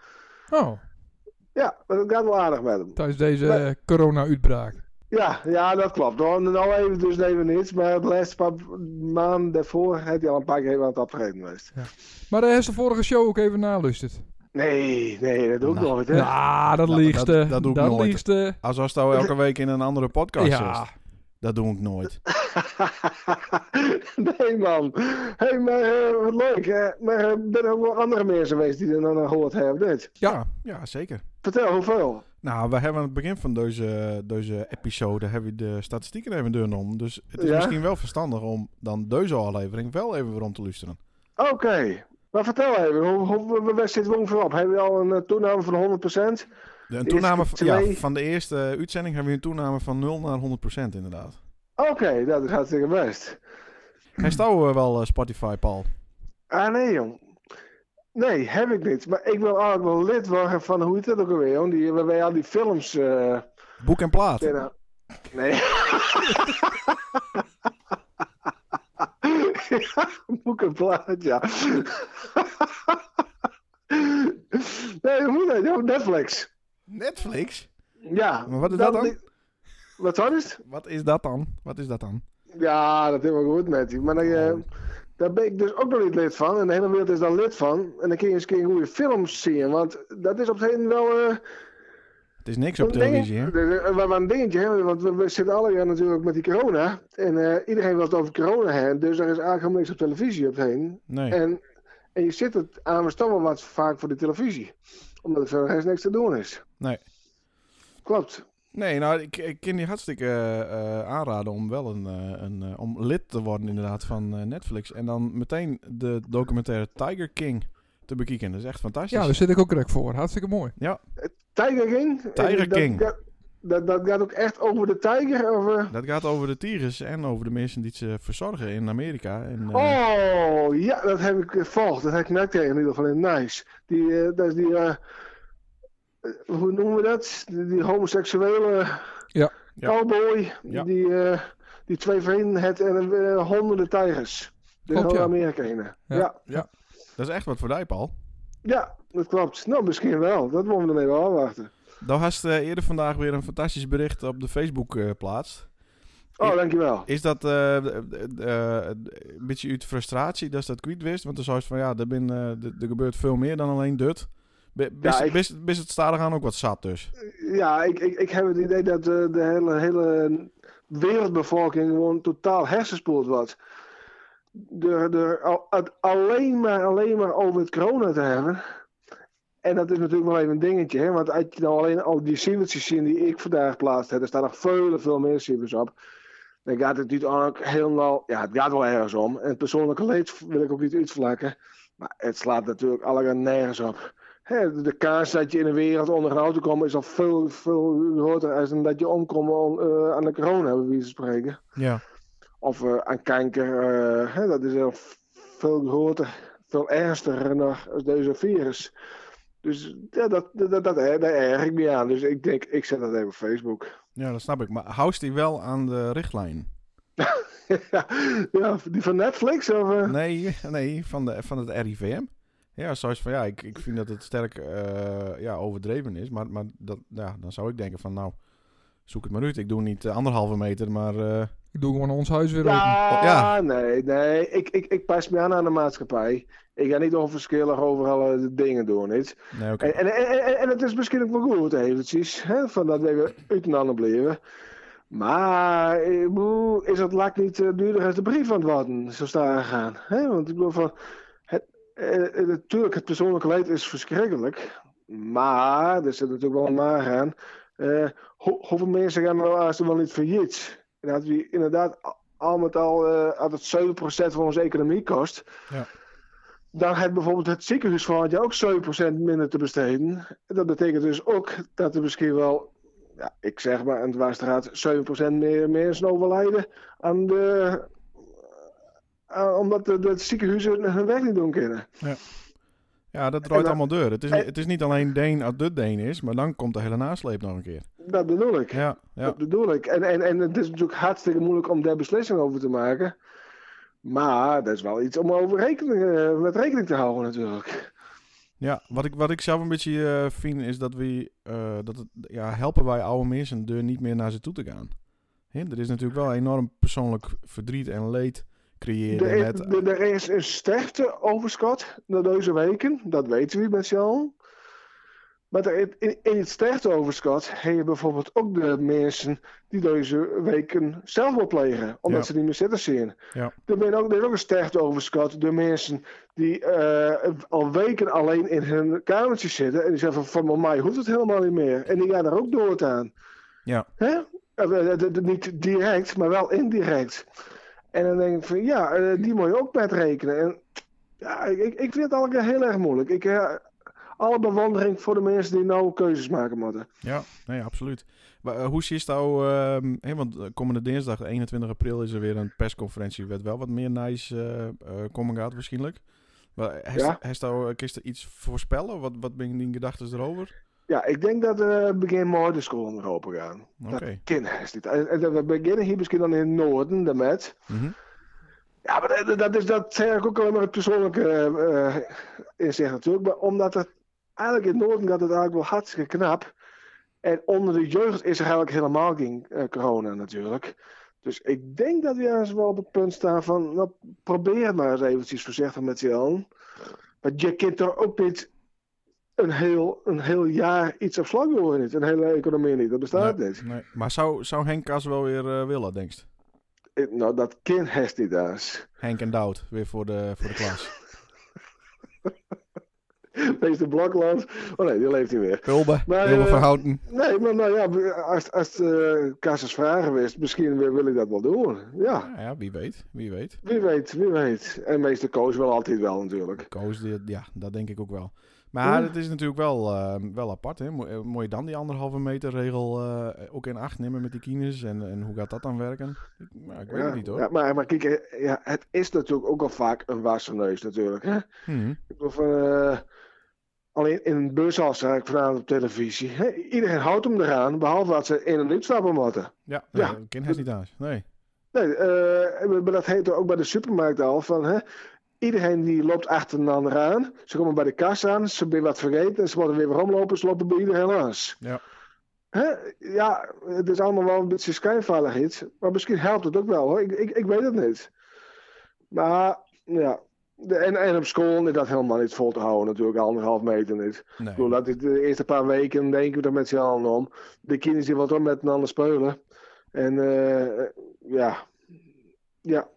Oh, Ja, maar dat gaat wel aardig met hem. tijdens deze Nee. eh, corona-uitbraak. Ja, ja dat klopt. Nou, nou even dus even niets. Maar de laatste paar maanden daarvoor heeft hij al een paar keer even aan het opgeven geweest. Maar hij heeft de vorige show ook even naluisterd. Nee, nee, dat doe ik Nou, nooit. Hè. Ja, dat Nou, maar liegste. dat- dat doe ik nooit. liegste. als was nou elke week in een andere podcast Ja. zit. Dat doe ik nooit. nee, man. Hé, hey, maar eh, wat leuk. hè. maar eh, ben er ook wel andere mensen geweest die er dan aan gehoord hebben? Dit. Ja, ja, zeker. Vertel, hoeveel? Nou, we hebben aan het begin van deze, deze episode hebben we de statistieken even deur om. Dus het is Ja. misschien wel verstandig om dan deze aflevering wel even weer om te luisteren. Oké. Maar vertel even, hoe, hoe, hoe, waar zitten we ongeveer op? Hebben we al een eh, toename van 100%? De- Een toename Eerste van, ja, twee. van de eerste eh, uitzending hebben we een toename van 0 naar 100% inderdaad. Oké, dat is hartstikke best. Hij staan we wel eh, Spotify, Paul. Ah, nee, jong. Nee, heb ik niet. Maar ik wil altijd wel lid worden van, hoe heet dat ook alweer, jong? Die, waarbij al die films... eh, Boek en plaat. binnen- Nee. ja, boek en plaat, ja. nee, hoe moet dat, jong? Netflix. Netflix? Ja. Maar wat is dat dan? Wat dan is het? Wat is dat dan? Wat is dat dan? Ja, dat helemaal goed met die. Maar dan, eh, daar ben ik dus ook nog niet lid van. En de hele wereld is daar lid van. En dan kun je eens een keer goede films zien. Want dat is op het heden wel. eh, Het Het is niks op Een dingetje- televisie, hè? dus, eh, Maar maar een dingetje, hè, want we- we zitten alle jaar natuurlijk met die corona. En eh, iedereen was het over corona heen, dus er is eigenlijk helemaal niks op televisie op heen. Nee. En, en je zit het aan mijn stammen wat vaak voor de televisie. Omdat er verder helemaal niks te doen is. Nee. Klopt. Nee, nou, ik, ik kan die hartstikke eh, eh, aanraden om wel een, eh, een eh, om lid te worden inderdaad van eh, Netflix. En dan meteen de documentaire Tiger King te bekijken. Dat is echt fantastisch. Ja, dus- daar zit ik ook rek voor. Hartstikke mooi. Tiger King? Tiger Dat- King. Dat, dat, dat gaat ook echt over de tijger? Of, eh? Dat gaat over de tieren en over de mensen die ze verzorgen in Amerika. En, eh, Oh, ja, dat heb ik gevolgd. Dat heb ik net tegen in ieder geval in Nice. Die, eh, dat is die, eh, eh, hoe noemen we dat? Die, die homoseksuele Ja. Ja. cowboy. Ja. Die, eh, die twee vrienden het en eh, honderden tijgers. De Klopt, hele ja. Amerika heen. Ja. Ja. Ja. Dat is echt wat voor jou, Paul. dat klopt. Nou, misschien wel. Dat moeten we dan even afwachten. Dan had eh, eerder vandaag weer een fantastisch bericht op de Facebook eh plaats. Oh, Ik- dankjewel. Is dat eh, eh, eh, eh, een beetje uit frustratie dat ze dat kwijt wist? Want dan zou je van ja, er, bin, eh, d- er gebeurt veel meer dan alleen dit. Bis, Ja, ik- bis, bis het stadig aan ook wat zat dus. Ja, ik, ik, ik heb het idee dat eh, de hele, hele wereldbevolking gewoon totaal hersenspoeld wordt. Door, door al- het alleen maar, alleen maar over het corona te hebben. En dat is natuurlijk wel even een dingetje, hè? want als je nou alleen al die cijfertjes ziet die ik vandaag plaatst, hè, er staan nog veel, veel meer cijfers op. Dan gaat het niet ook helemaal, ja, het gaat wel ergens om. En het persoonlijke leed wil ik ook niet uitvlakken, maar het slaat natuurlijk allemaal nergens op. Hè, de- de kaars dat je in de wereld onder een auto komt is al veel, veel groter als dan dat je omkomt aan, eh, aan de corona, bij wie te spreken. Ja. Of eh, aan kanker, eh, hè, dat is heel f- veel groter, veel ernstiger nog als deze virus. Dus ja, dat, dat, dat, dat, daar erg ik me aan. Dus ik denk, ik zet dat even op Facebook. ja, dat snap ik. Maar houdt die wel aan de richtlijn? ja, die van Netflix? Of, eh? Nee, nee van, de, van het RIVM. Ja, zoals van ja, ik, ik vind dat het sterk eh, ja, overdreven is. Maar, maar dat, ja, dan zou ik denken van nou, zoek het maar uit. Ik doe niet eh, anderhalve meter, maar eh, Ik doe gewoon ons huis weer open. Ja, Ja. nee, nee. Ik, ik, ik pas me aan aan de maatschappij. Ik ga niet onverschillig overal eh, de dingen doen. Niet? nee, oké. En, en, en, en- en het is misschien ook wel goed eventjes, hè, van dat we weer uit en ander blijven. Maar eh, ik bedoel, is het lak niet eh, duurder als de brief aan het worden, zo staan gaan. Hè? Want ik bedoel van, het, eh, eh, natuurlijk, het persoonlijke leed is verschrikkelijk. Maar, er zit natuurlijk wel een maar aan. eh, ho- hoeveel mensen gaan nou als er wel niet failliet? En dat we inderdaad a- al met al eh had het 7% van onze economie kost dan heeft bijvoorbeeld het ziekenhuis van het jaar ook 7% minder te besteden. Dat betekent dus ook dat er misschien wel, ja, ik zeg maar, een dwarsstraat 7% meer mensen overlijden aan de. aan- omdat de, de ziekenhuizen hun werk niet doen kunnen. Ja, dat En draait dan- allemaal deur. Het is, en- het is niet alleen Deen als de Deen is, maar dan komt de hele nasleep nog een keer. Dat bedoel ik. Ja, ja. Dat bedoel ik. En, en, en het is natuurlijk hartstikke moeilijk om daar beslissing over te maken. Maar dat is wel iets om over rekening, eh, met rekening te houden, natuurlijk. ja wat, ik, wat ik zelf een beetje eh, vind is dat we eh, dat het, ja, helpen wij oude mensen deur niet meer naar ze toe te gaan. Hè, er is natuurlijk wel enorm persoonlijk verdriet en leed Er creëren is, met... er- er is een sterkte overschot na deze weken, dat weten we met z'n allen. Maar er- in, in het sterkte overschot heb je bijvoorbeeld ook de mensen die deze weken zelfmoord plegen, omdat Ja. ze niet meer zitten zien. Ja. Er, ben ook, er is ook een sterkte overschot de mensen die eh, al weken alleen in hun kamertje zitten en die zeggen van, van mij hoeft het helemaal niet meer. En die gaan er ook dood aan. Ja. Hè? Eh, eh, eh, Niet direct, maar wel indirect. En dan denk ik van ja, eh, die moet je ook met rekenen. En ja, ik, ik ik vind het allemaal heel erg moeilijk. Ik, eh, alle bewondering voor de mensen die nou keuzes maken moeten. Ja, nee, absoluut. Maar, eh, hoe zie je het nou... ehm, hè, want eh, komende dinsdag, 21 april, is er weer een persconferentie... waar wel wat meer nice eh, eh, coming out waarschijnlijk. Maar eh, heeft Ja. heeft nou, eh, kun je er iets voorspellen? Wat, wat ben je die gedachten erover? Ja, ik denk dat eh begin morgen de school onder open gaan. Oké. Kinders niet. En, en Eh, we beginnen hier misschien dan in het noorden, de met. Mhm. Ja, maar eh, dat, dat is dat zeg ik ook alleen maar het persoonlijke eh, eh, inzicht natuurlijk. Maar omdat het eigenlijk in het noorden gaat het eigenlijk wel hartstikke knap. En onder de jeugd is er eigenlijk helemaal geen eh, corona natuurlijk. Dus ik denk dat we juist wel op het punt staan van, nou, probeer het maar eens eventjes voorzichtig met z'n allen. Want je kunt er ook niet een heel, een heel jaar iets op slag horen niet. Een hele economie niet. Dat bestaat Nee, niet. nee. Maar zou, zou Henk Kas wel weer eh, willen, denkst? Ik- nou, dat kind heeft niet eens. Henk en Doud, weer voor de, voor de klas. Meester Blokland. Oh nee, die leeft niet meer. Hulbe, Maar, Hulbe eh, van Houten. Nee, maar nou ja, als, als eh Kassers vragen wist, misschien wil- wil ik dat wel doen. Ja, Nou ja, wie weet, wie weet. wie weet, wie weet. En meester Koos wil altijd wel natuurlijk. Koos, die- ja, dat denk ik ook wel. Maar Ja. het is natuurlijk wel, eh, wel apart. Hè? Mo- eh, Moet je dan die anderhalve meter regel eh, ook in acht nemen met die kines? En, en hoe gaat dat dan werken? Ik, nou, ik weet ja, het niet hoor. Ja, maar, maar kijk, eh, ja, het is natuurlijk ook al vaak een wassen neus natuurlijk. Hè? Mhm. Ik bedoel van, eh, alleen in een bushals zag ik vanavond op televisie. Hè? Iedereen houdt hem eraan, behalve wat ze in en uitstappen moeten. Ja, Ja. ja. kind is niet thuis. Nee. Nee, eh, maar dat heet ook bij de supermarkt al van... Hè? Iedereen die loopt achter een ander aan. Ze komen bij de kas aan, ze hebben wat vergeten... en ze moeten weer weer omlopen, ze lopen bij iedereen langs. Ja. Hè? Ja, het is allemaal wel een beetje schijnveilig iets. Maar misschien helpt het ook wel, hoor. Ik, ik, ik weet het niet. Maar, ja... De- En, en op school is dat helemaal niet vol te houden natuurlijk, anderhalf meter niet. nee. Ik bedoel, dat is de eerste paar weken denken we er met z'n allen om. De kinderen die wat om met een ander spelen. En eh, eh, ja. ja.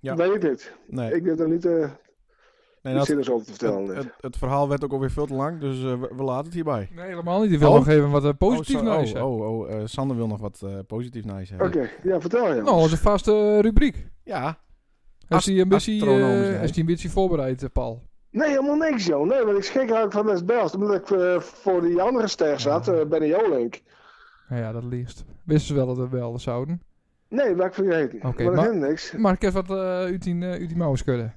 Ja. Weet ik niet. Nee. Ik heb er niet eh nee, iets dat- zinnigs over te vertellen. dus. het, net. het, het verhaal werd ook alweer veel te lang, dus eh, we, we laten het hierbij. Nee, helemaal niet. Die wil Oh? nog even wat eh, positief oh, naar Sa- je oh, zeggen. oh, oh, eh, Sander wil nog wat eh, positief naar je zeggen. Oké, ja, vertel oh. je. Nou, onze vaste eh, rubriek. Ja, Is Ast- die een beetje, astronomisch, eh, hè? is die een beetje voorbereid, eh, Paul? Nee, helemaal niks, joh. Nee, want ik schrik eigenlijk van het best. Omdat ik eh, voor die andere ster zat, eh, bij de Jolink. Nou ja, dat liefst. Wisten ze wel dat we wel zouden. Nee, wat ik vergeten. Oké, maar maar- dat heeft niks. Maar ik heb wat eh, uit die, eh, uit die mouwen schudden.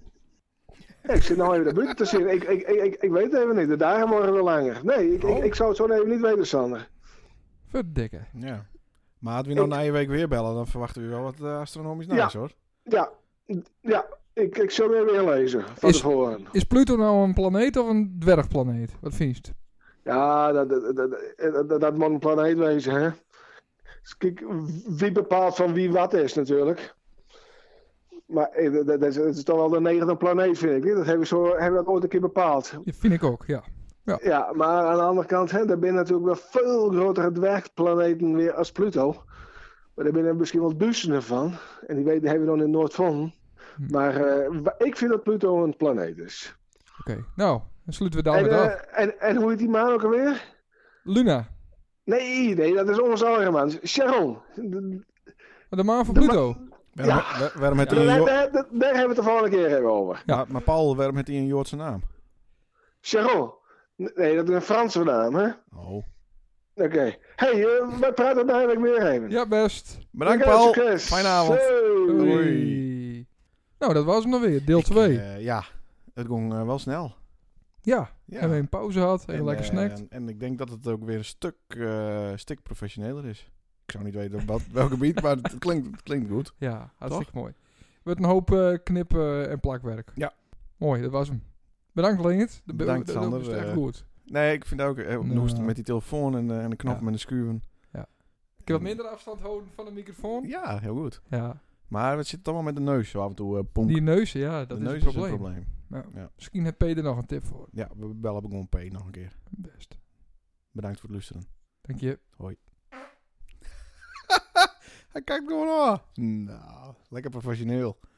Nee, ik zit nou even de buurt te zien. Ik, ik, ik, ik, ik weet het even niet. De dagen worden weer langer. Nee, ik, Oh. ik, ik zou het zo even niet weten, Sander. Verdikken. ja. Maar als we nou Ik- na je week weer bellen, dan verwachten we wel wat eh, astronomisch Ja. nice hoor. Ja, ja. Ik, ik zal weer weer lezen. Van Is- tevoren. Is Pluto nou een planeet of een dwergplaneet? Wat vind je het? Ja, dat, dat, dat, dat, dat, dat moet een planeet wezen, hè? Dus Kijk, wie bepaalt van wie wat is, natuurlijk. Maar eh, dat, dat, is, dat is toch wel de negende planeet, vind ik. hè? Dat hebben, we zo, hebben we dat ooit een keer bepaald. Ja, vind ik ook, ja. Ja, maar aan de andere kant, hè, er zijn natuurlijk wel veel grotere dwergplaneten weer als Pluto. Maar er zijn er misschien wel duizenden van. En die, weten, die hebben we dan in Noord van. Hm. Maar eh, wa- ik vind dat Pluto een planeet is. Oké, nou, dan sluiten we En, daarmee af. eh, en, en hoe heet die maan ook alweer? Luna, Nee, nee, dat is ons eigen man. Sharon. de maan van de Pluto. Waarom, Ja. wa- waarom heeft hij Daar, een daar, Jo- daar- daar hebben we het de vorige keer even over. Ja. maar, maar Paul, waarom heeft hij een Joodse naam? Sharon. Nee, dat is een Franse naam, hè? Oh. Oké. hey, eh, we praten daar eigenlijk meer even. Ja, best. Bedankt Oké, Paul, succes. fijne avond. Hey. Doei. Doei. Nou, dat was hem dan weer, deel Ik, 2. eh, ja, het ging eh, wel snel. ja, Ja. hebben we een pauze gehad, eh, even En, lekker eh, snackt. En, en ik denk dat het ook weer een stuk, eh stuk professioneler is. Ik zou niet weten op wat, welk gebied, maar het klinkt, het klinkt goed. ja, hartstikke mooi. Met een hoop eh, knippen en plakwerk. Ja. Mooi, dat was hem. Bedankt Leendert. Dat be- Bedankt, dat- dat Sander, was echt eh, goed. Nee, ik vind ook, eh, hoe Nou. is het met die telefoon en, eh, en de knoppen Ja. en de schuwen. Ja. Ik heb wat minder afstand houden van de microfoon. Ja, heel goed. Ja. Maar het zit allemaal met de neus zo af en toe. eh pomp. Die neus, ja, dat de is neus het probleem. Misschien heeft Peter nog een tip voor. Ja, we bellen gewoon P nog een keer. Best. Bedankt voor het luisteren. Dank je. Hij kijkt gewoon aan. Nou, oh. lekker professioneel.